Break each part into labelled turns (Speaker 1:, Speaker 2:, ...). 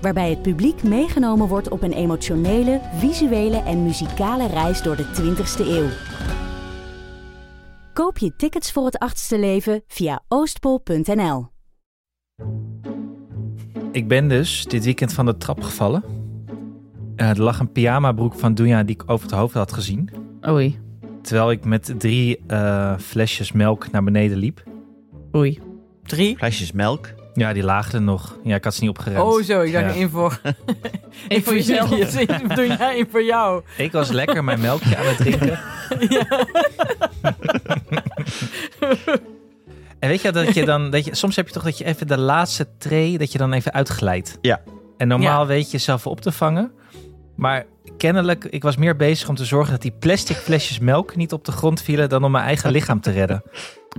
Speaker 1: Waarbij het publiek meegenomen wordt op een emotionele, visuele en muzikale reis door de 20ste eeuw. Koop je tickets voor het achtste leven via oostpol.nl.
Speaker 2: Ik ben dus dit weekend van de trap gevallen. Eh, er lag een pyjamabroek van Doenja die ik over het hoofd had gezien.
Speaker 3: Oei,
Speaker 2: Terwijl ik met drie eh, flesjes melk naar beneden liep.
Speaker 3: oei.
Speaker 4: Drie.
Speaker 5: Flesjes melk.
Speaker 2: Ja, die lagen er nog. Ja, ik had ze niet opgeruimd.
Speaker 4: Oh zo, ik dacht
Speaker 2: Ja.
Speaker 4: één voor...
Speaker 3: Eén voor jezelf.
Speaker 4: Doe jij één voor jou.
Speaker 2: Ik was lekker mijn melkje aan het drinken. en weet je dat je dan, dat je, soms heb je toch dat je even de laatste tray, dat je dan even uitglijdt.
Speaker 5: Ja.
Speaker 2: En normaal weet je zelf op te vangen. Maar kennelijk, ik was meer bezig om te zorgen dat die plastic flesjes melk niet op de grond vielen dan om mijn eigen lichaam te redden.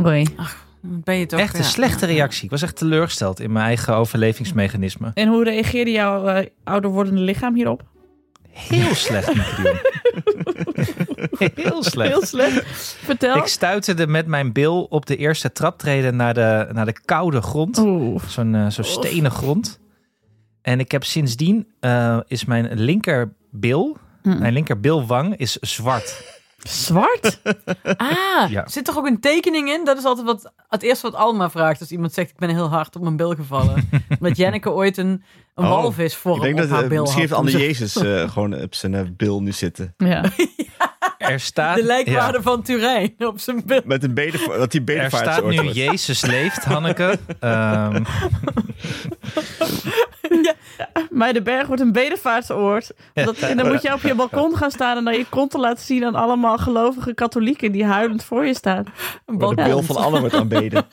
Speaker 3: Oei.
Speaker 4: Ben je toch...
Speaker 2: Echt een
Speaker 4: ja.
Speaker 2: slechte reactie. Ik was echt teleurgesteld in mijn eigen overlevingsmechanisme.
Speaker 3: En hoe reageerde jouw eh, ouder wordende lichaam hierop?
Speaker 2: Heel slecht, Marion. Heel slecht.
Speaker 3: Heel slecht. Vertel.
Speaker 2: Ik stuiterde met mijn bil op de eerste traptreden naar de, naar de koude grond.
Speaker 4: Oh.
Speaker 3: Oeh.
Speaker 2: Zo'n eh, zo'n stenen grond. En ik heb sindsdien eh, is mijn linkerbil,
Speaker 3: Mm.
Speaker 2: mijn linkerbilwang is zwart.
Speaker 3: Zwart?
Speaker 4: Ah,
Speaker 2: Ja.
Speaker 4: zit toch ook een tekening in? Dat is altijd wat, het eerste wat Alma vraagt als iemand zegt: Ik ben heel hard op mijn bil gevallen. Omdat Janneke ooit een, een
Speaker 5: Oh,
Speaker 4: walvis voor
Speaker 5: Ik denk
Speaker 4: op
Speaker 5: dat
Speaker 4: haar
Speaker 5: eh,
Speaker 4: bil
Speaker 5: misschien
Speaker 4: had.
Speaker 5: heeft Anne
Speaker 4: Om zo-
Speaker 5: Jezus eh, gewoon op zijn eh, bil nu zitten.
Speaker 3: Ja.
Speaker 2: Er staat,
Speaker 4: De lijkwaarde
Speaker 2: ja,
Speaker 4: van Turijn op zijn bil.
Speaker 5: Met een bedevaart, dat die
Speaker 2: er
Speaker 5: bedevaart
Speaker 2: staat nu Jezus leeft, Hanneke. Ehm,
Speaker 3: Maar de berg wordt een bedevaartsoord. Dat, en dan moet je op je balkon gaan staan en dan je kont te laten zien aan allemaal gelovige katholieken die huilend voor je staan.
Speaker 4: Een
Speaker 5: Waar de
Speaker 4: balkon.
Speaker 5: bil van Anne wordt aanbeden.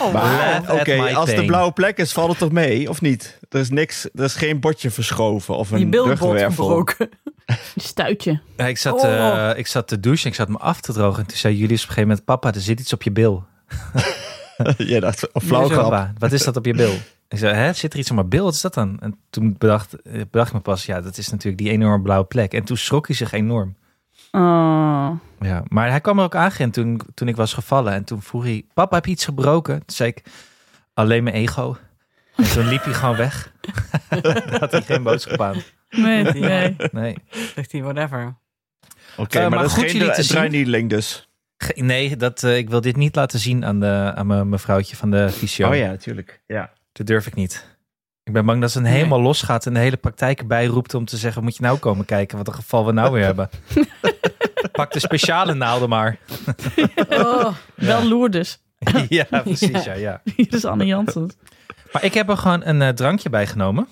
Speaker 4: Oh,
Speaker 5: Maar
Speaker 2: Laugh
Speaker 5: oké,
Speaker 2: at my
Speaker 5: als de
Speaker 2: pain.
Speaker 5: blauwe plek is, valt het toch mee, of niet? Er is niks, er is geen bordje verschoven of
Speaker 4: Die
Speaker 5: een
Speaker 4: bilbot
Speaker 5: rugwervel.
Speaker 4: gebroken.
Speaker 3: Stuitje.
Speaker 2: ja, ik, zat,
Speaker 4: Oh.
Speaker 2: eh, ik zat te douchen, ik zat me af te drogen. En toen zei Julius op een gegeven moment, papa, er zit iets op je bil.
Speaker 5: Jij dacht, een flauw
Speaker 2: Hoezo,
Speaker 5: grap.
Speaker 2: papa? Wat is dat op je bil? Ik zei, hè, zit er iets op mijn bil? Wat is dat dan? En toen bedacht, eh, bedacht ik me pas, ja, dat is natuurlijk die enorme blauwe plek. En toen schrok hij zich enorm.
Speaker 3: Oh.
Speaker 2: Ja, maar hij kwam er ook aan toen, toen ik was gevallen. En toen vroeg hij, papa, heb je iets gebroken? Toen zei ik, alleen mijn ego. En toen liep hij gewoon weg. Daar had hij geen boodschap aan.
Speaker 3: Nee,
Speaker 4: Ja.
Speaker 3: nee.
Speaker 2: Nee,
Speaker 4: Zegt hij, whatever.
Speaker 5: Oké,
Speaker 2: Eh,
Speaker 5: maar,
Speaker 2: maar
Speaker 5: dat
Speaker 2: goed
Speaker 5: is
Speaker 2: jullie
Speaker 5: geen
Speaker 2: te zien.
Speaker 5: dru- druinieling dus.
Speaker 2: Ge- nee dat, eh, ik wil dit niet laten zien aan, de, aan mijn mevrouwtje van de fysio.
Speaker 5: Oh ja, natuurlijk. Ja.
Speaker 2: Dat durf ik niet. Ik ben bang dat ze een
Speaker 4: Nee.
Speaker 2: helemaal losgaat en de hele praktijk erbij roept om te zeggen: Moet je nou komen kijken wat een geval we nou weer hebben? Pak de speciale naalden maar.
Speaker 4: Oh,
Speaker 3: Wel Lourdes.
Speaker 2: ja, precies. Ja. Ja,
Speaker 3: Hier is Anne Janssen.
Speaker 2: Maar ik heb er gewoon een eh, drankje bij genomen.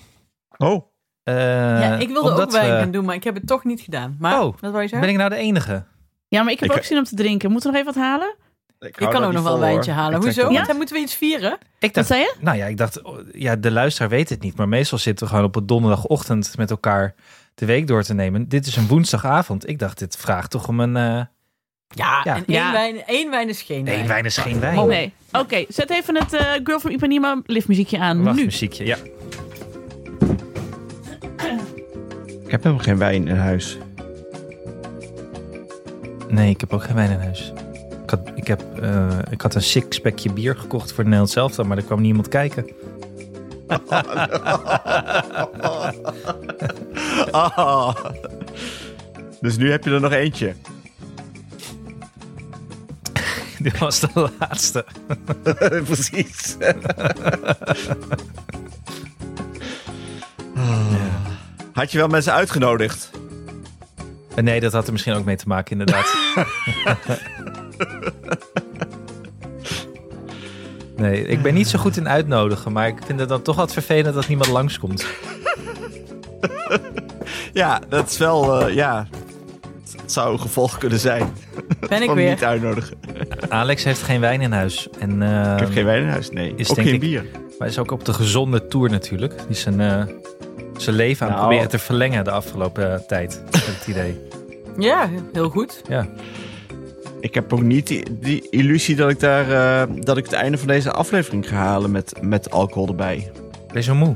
Speaker 5: Oh,
Speaker 2: Eh,
Speaker 4: ja, ik wilde ook
Speaker 2: omdat
Speaker 4: wijn
Speaker 2: we-
Speaker 4: gaan doen, maar ik heb het toch niet gedaan. Maar,
Speaker 2: Oh,
Speaker 4: wat wou je zeggen?
Speaker 2: Ben ik nou de enige?
Speaker 3: Ja, maar ik heb
Speaker 5: Ik-
Speaker 3: ook zin om te drinken. Moeten we nog even wat halen?
Speaker 5: ik
Speaker 4: Ik
Speaker 5: hou
Speaker 4: kan
Speaker 5: daar
Speaker 4: ook
Speaker 5: niet
Speaker 4: nog wel
Speaker 5: Oh, voor,
Speaker 4: een wijntje
Speaker 5: hoor.
Speaker 4: halen.
Speaker 5: Ik trek
Speaker 4: Hoezo?
Speaker 5: wel-
Speaker 4: Want dan moeten we iets vieren.
Speaker 2: Ik
Speaker 3: Wat
Speaker 2: dacht,
Speaker 3: zei je?
Speaker 2: nou ja, ik dacht, oh, ja, de luisteraar weet het niet, maar meestal zitten we gewoon op een donderdagochtend met elkaar de week door te nemen. Dit is een woensdagavond. Ik dacht, dit vraagt toch om een. eh
Speaker 4: Ja,
Speaker 2: Ja.
Speaker 4: en
Speaker 3: Ja.
Speaker 4: Één, wijn, één wijn is geen
Speaker 2: nee,
Speaker 4: wijn.
Speaker 2: wijn is geen wijn.
Speaker 3: Oh, nee. Oké, zet even het eh, Girl from Ipanema liftmuziekje aan.
Speaker 2: Wacht,
Speaker 3: nu.
Speaker 2: muziekje. Ja.
Speaker 5: Ik heb helemaal geen wijn in huis.
Speaker 2: Nee, ik heb ook geen wijn in huis. Ik had, ik heb, eh, ik had een sixpackje bier gekocht voor Nederland zelf, maar er kwam niemand kijken.
Speaker 5: Ah. Dus nu heb je er nog eentje.
Speaker 2: Dit was de laatste.
Speaker 5: Precies. Ah. Had je wel mensen uitgenodigd?
Speaker 2: Eh, Nee, dat had er misschien ook mee te maken, inderdaad. nee, ik ben niet zo goed in uitnodigen, maar ik vind het dan toch wat vervelend dat niemand langskomt.
Speaker 5: Ja, dat is wel. eh, ja. Het zou een gevolg kunnen zijn.
Speaker 4: ben ik
Speaker 5: Van
Speaker 4: weer.
Speaker 5: niet uitnodigen.
Speaker 2: Alex heeft geen wijn in huis. En,
Speaker 5: Ehm, Ik heb geen wijn in huis. Nee.
Speaker 2: Is
Speaker 5: Ook
Speaker 2: denk
Speaker 5: geen
Speaker 2: ik-
Speaker 5: bier.
Speaker 2: hij is ook op de gezonde tour natuurlijk. Die is zijn, eh, zijn leven aan het
Speaker 5: Nou.
Speaker 2: proberen te verlengen de afgelopen eh, tijd. heb ik het idee.
Speaker 4: Ja, heel goed.
Speaker 5: Ik heb ook niet die, die illusie dat ik, daar, eh, dat ik het einde van deze aflevering ga halen met, met alcohol erbij.
Speaker 2: Ik ben zo moe.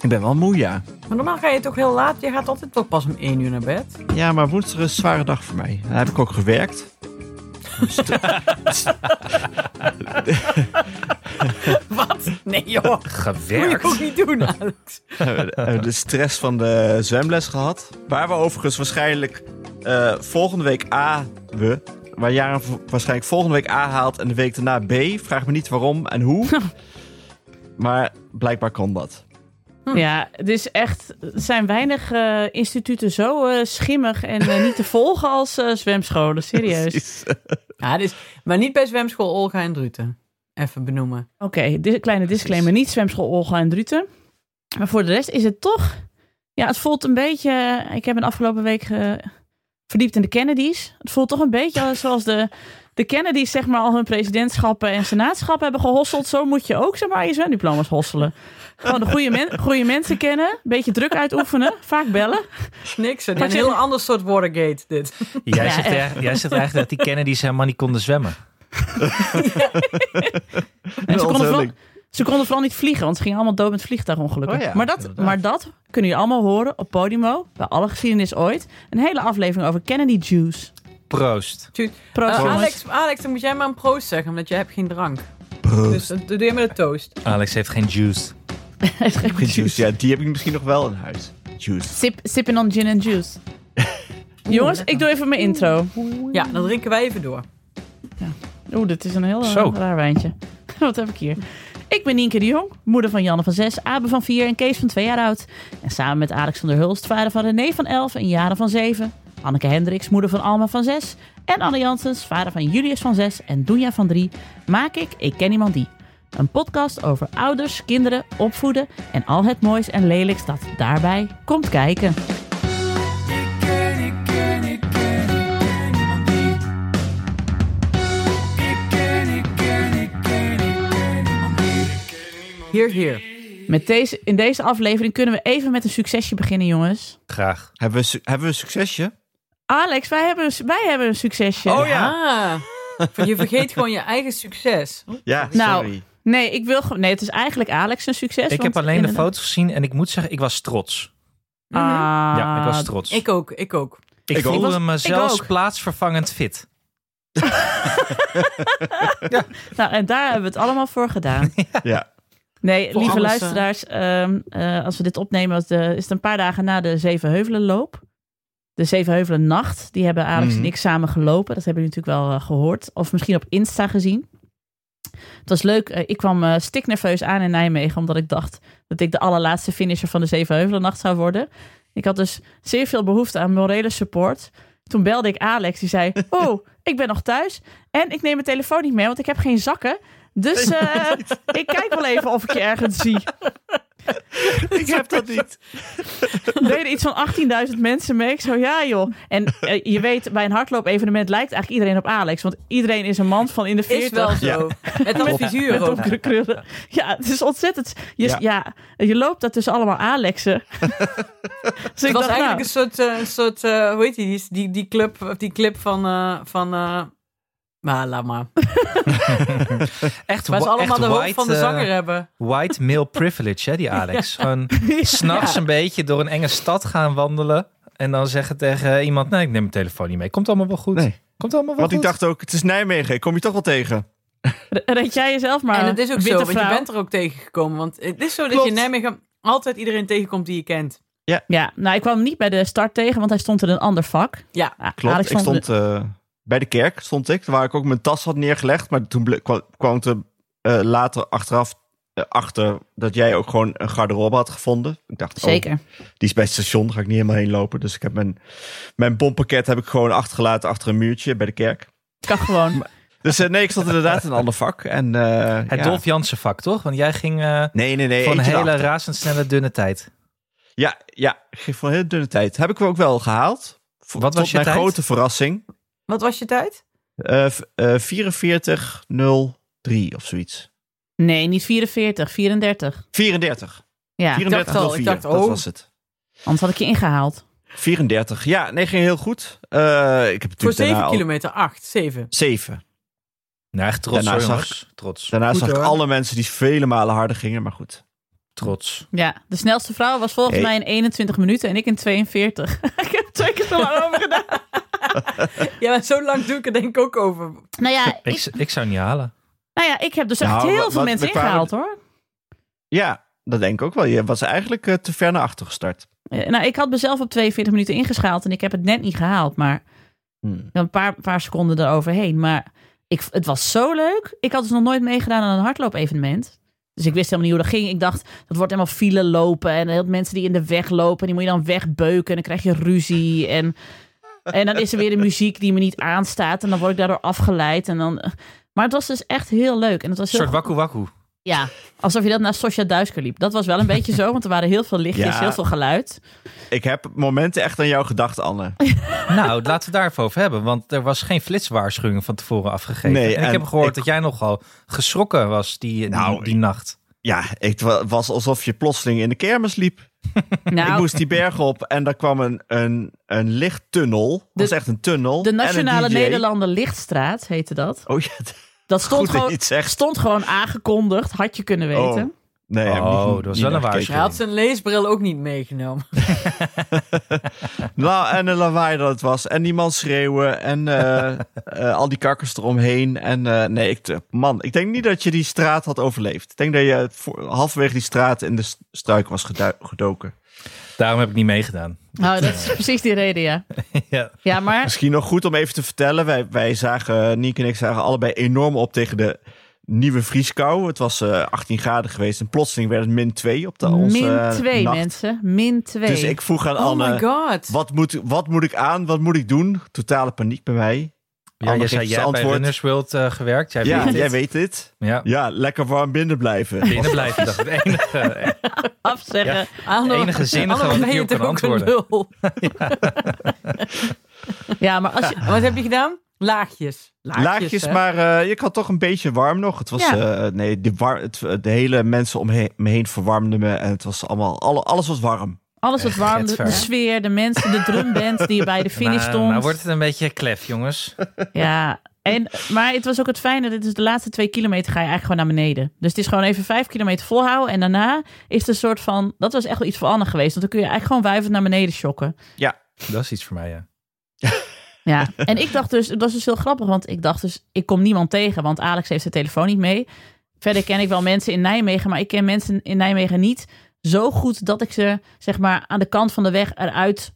Speaker 5: Ik ben wel moe, ja.
Speaker 4: Maar normaal ga je toch heel laat. Je gaat altijd wel pas om één uur naar bed.
Speaker 5: Ja, maar woensdag is een zware dag voor mij. Daar heb ik ook gewerkt. Dus de-
Speaker 4: Wat? Nee joh, dat moet je
Speaker 2: Gewerkt.
Speaker 4: ook niet doen Alex.
Speaker 5: eh, eh, de stress van de zwemles gehad. Waar we overigens waarschijnlijk eh, volgende week A... We, waar Jaren v- waarschijnlijk volgende week A haalt en de week daarna B. Vraag me niet waarom en hoe. maar blijkbaar kan dat.
Speaker 3: Hm. Ja, het is echt, er zijn weinig eh, instituten zo eh, schimmig en eh, niet te volgen als eh, zwemscholen, serieus. Oké,
Speaker 5: Precies.
Speaker 4: Ja, dus, maar niet bij zwemschool Olga en Druten. Even benoemen.
Speaker 3: di- kleine disclaimer, niet zwemschool Olga en Druten. Maar voor de rest is het toch, ja, het voelt een beetje, eh, ik heb een afgelopen week eh, verdiept in de Kennedys. Het voelt toch een beetje als- zoals de, de Kennedys zeg maar al hun presidentschappen en senaatschappen hebben gehosseld. Zo moet je ook zeg maar je zwemdiploma's hosselen. Gewoon de goede, men- goede mensen kennen, beetje druk uitoefenen, vaak bellen.
Speaker 4: Niks. En
Speaker 3: Wat
Speaker 4: een
Speaker 3: zeg-
Speaker 4: heel ander soort Watergate dit.
Speaker 2: Jij,
Speaker 3: Ja,
Speaker 2: zegt,
Speaker 3: echt.
Speaker 2: eigenlijk- jij zegt eigenlijk dat die Kennedy's helemaal niet konden zwemmen.
Speaker 3: En ze konden vooral,
Speaker 5: onthulling.
Speaker 3: ze konden vooral niet vliegen, want ze gingen allemaal dood met vliegtuigongelukken.
Speaker 5: Oh ja,
Speaker 3: maar, dat,
Speaker 2: inderdaad.
Speaker 3: maar dat kunnen jullie allemaal horen op Podimo, bij alle geschiedenis ooit. Een hele aflevering over Kennedy Juice.
Speaker 2: Proost.
Speaker 4: Tjuut.
Speaker 3: Proost,
Speaker 4: Eh,
Speaker 3: jongens.
Speaker 4: Alex, Alex, dan moet jij maar een proost zeggen, omdat jij hebt geen drank. Dus dat doe je met een toast.
Speaker 2: Alex heeft geen juice.
Speaker 3: Heeft geen
Speaker 5: Geen juice. Ja, die heb ik misschien nog wel in huis. Juice.
Speaker 3: Sip, sipping on gin and juice. Jongens, ik doe even mijn intro.
Speaker 4: Ja, dan drinken wij even door.
Speaker 3: Oeh, dit is een heel eh,
Speaker 2: Zo.
Speaker 3: raar wijntje. Wat heb ik hier? Ik ben Nienke de Jong, moeder van Janne van 6, Abe van 4 en Kees van 2 jaar oud. En samen met Alex van der Hulst, vader van René van 11 en Jaren van 7. Anneke Hendricks, moeder van Alma van 6. En Anne Janssens, vader van Julius van 6 en Doenja van 3. Maak ik Ik Ken Iemand Die. Een podcast over ouders, kinderen, opvoeden en al het moois en lelijks dat daarbij komt kijken.
Speaker 4: Hier, hier.
Speaker 3: Met deze, in deze aflevering kunnen we even met een succesje beginnen, jongens.
Speaker 2: Graag.
Speaker 5: Hebben we, su- hebben we een succesje?
Speaker 3: Alex, wij hebben, een su- wij hebben een succesje.
Speaker 5: Oh ja.
Speaker 4: Ah, je vergeet gewoon je eigen succes.
Speaker 5: Ja,
Speaker 3: Nou,
Speaker 5: sorry.
Speaker 3: Nee, ik wil gewoon. Nee, het is eigenlijk Alex een succes.
Speaker 2: Ik heb alleen de foto's gezien en ik moet zeggen, ik was trots.
Speaker 3: Ah.
Speaker 2: ja, ik was trots.
Speaker 4: Ik ook, ik ook.
Speaker 2: Ik,
Speaker 5: Ik
Speaker 2: voelde
Speaker 3: ook.
Speaker 2: me
Speaker 3: Ik
Speaker 2: zelfs
Speaker 3: ook.
Speaker 2: plaatsvervangend fit.
Speaker 3: Nou, en daar hebben we het allemaal voor gedaan.
Speaker 5: Ja.
Speaker 3: Nee,
Speaker 4: Voor
Speaker 3: lieve
Speaker 4: alles, eh.
Speaker 3: luisteraars, ehm, eh, als we dit opnemen, was de- is het een paar dagen na de Zevenheuvelenloop. De Zevenheuvelennacht. Die hebben Alex
Speaker 5: Mhm.
Speaker 3: en ik samen gelopen. Dat hebben jullie natuurlijk wel eh, gehoord. Of misschien op Insta gezien. Het was leuk. Eh, ik kwam eh stiknerveus aan in Nijmegen, omdat ik dacht dat ik de allerlaatste finisher van de Zevenheuvelennacht zou worden. Ik had dus zeer veel behoefte aan morele support. Toen belde ik Alex, die zei: Oh, ik ben nog thuis. En ik neem mijn telefoon niet mee, want ik heb geen zakken. Dus eh, ik kijk wel even of ik je ergens zie.
Speaker 5: Ik heb dat niet.
Speaker 3: Deden iets van 18.000 mensen mee. Ik zo, ja joh. En eh, je weet, bij een hardloop-evenement lijkt eigenlijk iedereen op Alex. Want iedereen is een man van in de 40.
Speaker 4: Is wel zo. Het
Speaker 3: Met-
Speaker 4: was
Speaker 3: met
Speaker 4: visuur ook.
Speaker 3: donkere krullen. Ja, het is ontzettend. Je, ja.
Speaker 5: Ja.
Speaker 3: je loopt daar tussen allemaal Alexen. dus ik
Speaker 4: Het was
Speaker 3: dacht,
Speaker 4: eigenlijk
Speaker 3: nou,
Speaker 4: een soort, eh, een soort eh, hoe heet die, die, die, die, club, of die clip van... eh, van eh, maar laat maar.
Speaker 2: Echt,
Speaker 4: Waar ze
Speaker 2: wa-
Speaker 4: allemaal
Speaker 2: echt
Speaker 4: de hoofd
Speaker 2: white,
Speaker 4: van de
Speaker 2: eh,
Speaker 4: zanger hebben.
Speaker 2: white male privilege, hè, die Alex. Gewoon s'nachts een beetje door een enge stad gaan wandelen. En dan zeggen tegen eh, iemand, nee, ik neem mijn telefoon niet mee. Komt allemaal wel goed.
Speaker 5: Nee.
Speaker 2: Komt allemaal wel
Speaker 5: Want ik
Speaker 2: goed.
Speaker 5: dacht ook, het is Nijmegen. Ik kom je toch wel tegen.
Speaker 3: red jij jezelf maar.
Speaker 4: en het is ook
Speaker 3: witte
Speaker 4: zo, want je
Speaker 3: vrouw.
Speaker 4: bent er ook tegengekomen. Want het is zo dat
Speaker 5: Klopt.
Speaker 4: je in Nijmegen altijd iedereen tegenkomt die je kent.
Speaker 3: Ja, nou, ik kwam hem niet bij de start tegen, want hij stond in een ander vak.
Speaker 4: Ja,
Speaker 3: Ah,
Speaker 5: Klopt,
Speaker 3: Alex
Speaker 5: ik
Speaker 3: stond-
Speaker 5: stond eh, bij de kerk, stond ik, waar ik ook mijn tas had neergelegd. Maar toen ble- kwa- kwam het er eh, later achteraf eh, achter dat jij ook gewoon een garderobe had gevonden. Ik dacht, oh,
Speaker 3: Zeker.
Speaker 5: die is bij het station, daar ga ik niet helemaal heen lopen. Dus ik heb mijn, mijn bompakket heb ik gewoon achtergelaten achter een muurtje bij de kerk.
Speaker 3: Kan gewoon.
Speaker 5: Dus eh, nee, ik stond inderdaad in een ander vak. En, eh,
Speaker 2: Het
Speaker 5: ja.
Speaker 2: Dolf Jansen vak, toch? Want jij ging eh
Speaker 5: Nee, nee, nee.
Speaker 2: voor een
Speaker 5: eentje
Speaker 2: hele
Speaker 5: erachter.
Speaker 2: razendsnelle dunne tijd.
Speaker 5: Ja, ja, ik ging voor een hele dunne tijd. Heb ik hem ook wel gehaald. Voor-
Speaker 2: Wat was
Speaker 5: tot
Speaker 2: je
Speaker 5: mijn
Speaker 2: tijd?
Speaker 5: grote verrassing.
Speaker 4: wat was je tijd?
Speaker 5: Eh v- eh, 44.03 of zoiets.
Speaker 3: Nee, niet 44, 34.
Speaker 5: 34.
Speaker 3: Ja,
Speaker 5: 34
Speaker 4: al,
Speaker 5: tot
Speaker 4: ik
Speaker 5: 4.
Speaker 4: dacht,
Speaker 5: Dat
Speaker 4: oh.
Speaker 5: was het.
Speaker 3: anders had ik je ingehaald.
Speaker 5: 34. Ja, nee, ging heel goed. Eh, ik heb natuurlijk
Speaker 4: Voor 7
Speaker 5: daarna al-
Speaker 4: kilometer, 8, 7.
Speaker 5: 7.
Speaker 2: Nou, echt trots
Speaker 5: Daarna
Speaker 2: hoor,
Speaker 5: zag
Speaker 2: jongens. Trots.
Speaker 5: Daarna
Speaker 2: Goed,
Speaker 5: zag ik
Speaker 2: hoor.
Speaker 5: alle mensen die vele malen harder gingen, maar goed.
Speaker 2: Trots.
Speaker 3: Ja, de snelste vrouw was volgens
Speaker 5: Hey.
Speaker 3: mij in 21 minuten en ik in 42. ik heb twee keer te lang over gedaan.
Speaker 4: Ja, maar zo lang doe ik er denk ik ook over.
Speaker 3: Nou ja,
Speaker 2: Ik,
Speaker 3: ik,
Speaker 2: z- ik zou niet halen.
Speaker 3: nou ja, ik heb dus echt
Speaker 5: Nou,
Speaker 3: heel
Speaker 5: wat-
Speaker 3: veel
Speaker 5: wat-
Speaker 3: mensen
Speaker 5: we kwamen-
Speaker 3: ingehaald hoor.
Speaker 5: Ja, dat denk ik ook wel. Je was eigenlijk eh, te ver naar achter gestart.
Speaker 3: Eh, Nou, ik had mezelf op 42 minuten ingeschaald en ik heb het net niet gehaald. Maar
Speaker 5: Hmm.
Speaker 3: een paar, paar seconden eroverheen. Maar ik, het was zo leuk. Ik had dus nog nooit meegedaan aan een hardloop-evenement. Dus ik wist helemaal niet hoe dat ging. Ik dacht, dat wordt helemaal file lopen. En heel veel mensen die in de weg lopen. Die moet je dan wegbeuken. En dan krijg je ruzie. En, en dan is er weer de muziek die me niet aanstaat. En dan word ik daardoor afgeleid. En dan... Maar het was dus echt heel leuk. En het was
Speaker 2: Een
Speaker 3: heel
Speaker 2: soort wakku wakku.
Speaker 3: ja, alsof je dat naar Sosja Duisker liep. Dat was wel een beetje zo, want er waren heel veel lichtjes,
Speaker 5: Ja.
Speaker 3: heel veel geluid.
Speaker 5: Ik heb momenten echt aan jou gedacht, Anne.
Speaker 2: Nou, laten we daar even over hebben. Want er was geen flitswaarschuwing van tevoren afgegeven.
Speaker 5: Nee,
Speaker 2: en ik
Speaker 5: en
Speaker 2: heb gehoord
Speaker 5: ik-
Speaker 2: dat jij nogal geschrokken was die, die,
Speaker 5: Nou,
Speaker 2: die nacht.
Speaker 5: Ja, het wa- was alsof je plotseling in de kermis liep.
Speaker 3: Nou,
Speaker 5: Ik moest die berg op en daar kwam een, een, een lichttunnel. Het was
Speaker 3: De-
Speaker 5: echt een tunnel.
Speaker 3: de
Speaker 5: en een
Speaker 3: Nationale
Speaker 5: DJ.
Speaker 3: Nederlander Lichtstraat heette dat.
Speaker 5: Oh ja, d-
Speaker 3: Dat stond,
Speaker 5: goed dat je
Speaker 3: gewoon,
Speaker 5: het zegt.
Speaker 3: stond gewoon aangekondigd, had je kunnen
Speaker 5: Oh.
Speaker 3: weten.
Speaker 5: Nee, heb ik
Speaker 2: Oh,
Speaker 5: niet-
Speaker 2: dat was
Speaker 5: niet
Speaker 2: wel een
Speaker 5: naar
Speaker 4: Hij
Speaker 5: gekeken.
Speaker 4: had zijn leesbril ook niet meegenomen.
Speaker 5: Nou, en een lawaai dat het was. En die man schreeuwen. En eh, eh, al die kakkers eromheen. En eh, nee, ik, eh, man, ik denk niet dat je die straat had overleefd. Ik denk dat je voor- halverwege die straat in de s- struik was gedu- gedoken.
Speaker 2: Daarom heb ik niet meegedaan.
Speaker 3: Nou, dat is precies die reden, ja.
Speaker 2: ja.
Speaker 3: Ja, maar
Speaker 5: Misschien nog goed om even te vertellen. Wij, wij zagen, Niek en ik zagen allebei enorm op tegen de nieuwe vrieskou. Het was eh, 18 graden geweest en plotseling werd het min 2 op de onze
Speaker 3: min
Speaker 5: eh,
Speaker 3: twee
Speaker 5: nacht.
Speaker 3: mensen, min twee.
Speaker 5: Dus ik vroeg aan
Speaker 4: Oh
Speaker 5: Anne,
Speaker 4: my god.
Speaker 5: wat moet, wat moet ik aan? Wat moet ik doen? Totale paniek bij mij.
Speaker 2: Ja, jij
Speaker 5: geeft
Speaker 2: zei,
Speaker 5: het
Speaker 2: jij hebt bij
Speaker 5: antwoord.
Speaker 2: Runners World eh, gewerkt. Jij
Speaker 5: ja,
Speaker 2: weet
Speaker 5: jij
Speaker 2: het.
Speaker 5: weet dit.
Speaker 2: Ja.
Speaker 5: Ja, lekker warm binnen blijven.
Speaker 2: Binnen blijven, dat is het enige.
Speaker 3: Afzeggen.
Speaker 2: Ja.
Speaker 4: Arno-
Speaker 2: enige zinnige
Speaker 4: Arno,
Speaker 2: wat ik
Speaker 4: ben je
Speaker 2: hierop kan
Speaker 4: toch ook een
Speaker 2: antwoorden.
Speaker 4: lul?
Speaker 3: Ja. maar als je...
Speaker 4: En Wat heb je gedaan? Laagjes. Laagjes,
Speaker 5: Laagjes,
Speaker 4: hè?
Speaker 5: maar eh ik had toch een beetje warm nog. Het was,
Speaker 3: Ja.
Speaker 5: eh, nee, de, war, het, de hele mensen om he- me heen verwarmden me. En het was allemaal, alle, alles was warm.
Speaker 3: Alles wat
Speaker 2: Echt
Speaker 3: warm, de,
Speaker 2: getver.
Speaker 3: de sfeer, de mensen, de drumband die bij de finish
Speaker 2: Nou,
Speaker 3: stond.
Speaker 2: nou wordt het een beetje klef, jongens.
Speaker 3: Ja, en, maar het was ook het fijne. Dit is de laatste twee kilometer ga je eigenlijk gewoon naar beneden. Dus het is gewoon even vijf kilometer volhouden. En daarna is het een soort van... Dat was echt wel iets voor Anne geweest. Want dan kun je eigenlijk gewoon wuivend naar beneden shokken.
Speaker 2: Dat is iets voor mij, ja.
Speaker 3: Ja, en ik dacht dus... Het was dus heel grappig. Want ik dacht dus... Ik kom niemand tegen. Want Alex heeft zijn telefoon niet mee. Verder ken ik wel mensen in Nijmegen. Maar ik ken mensen in Nijmegen niet zo goed... dat ik ze zeg maar aan de kant van de weg eruit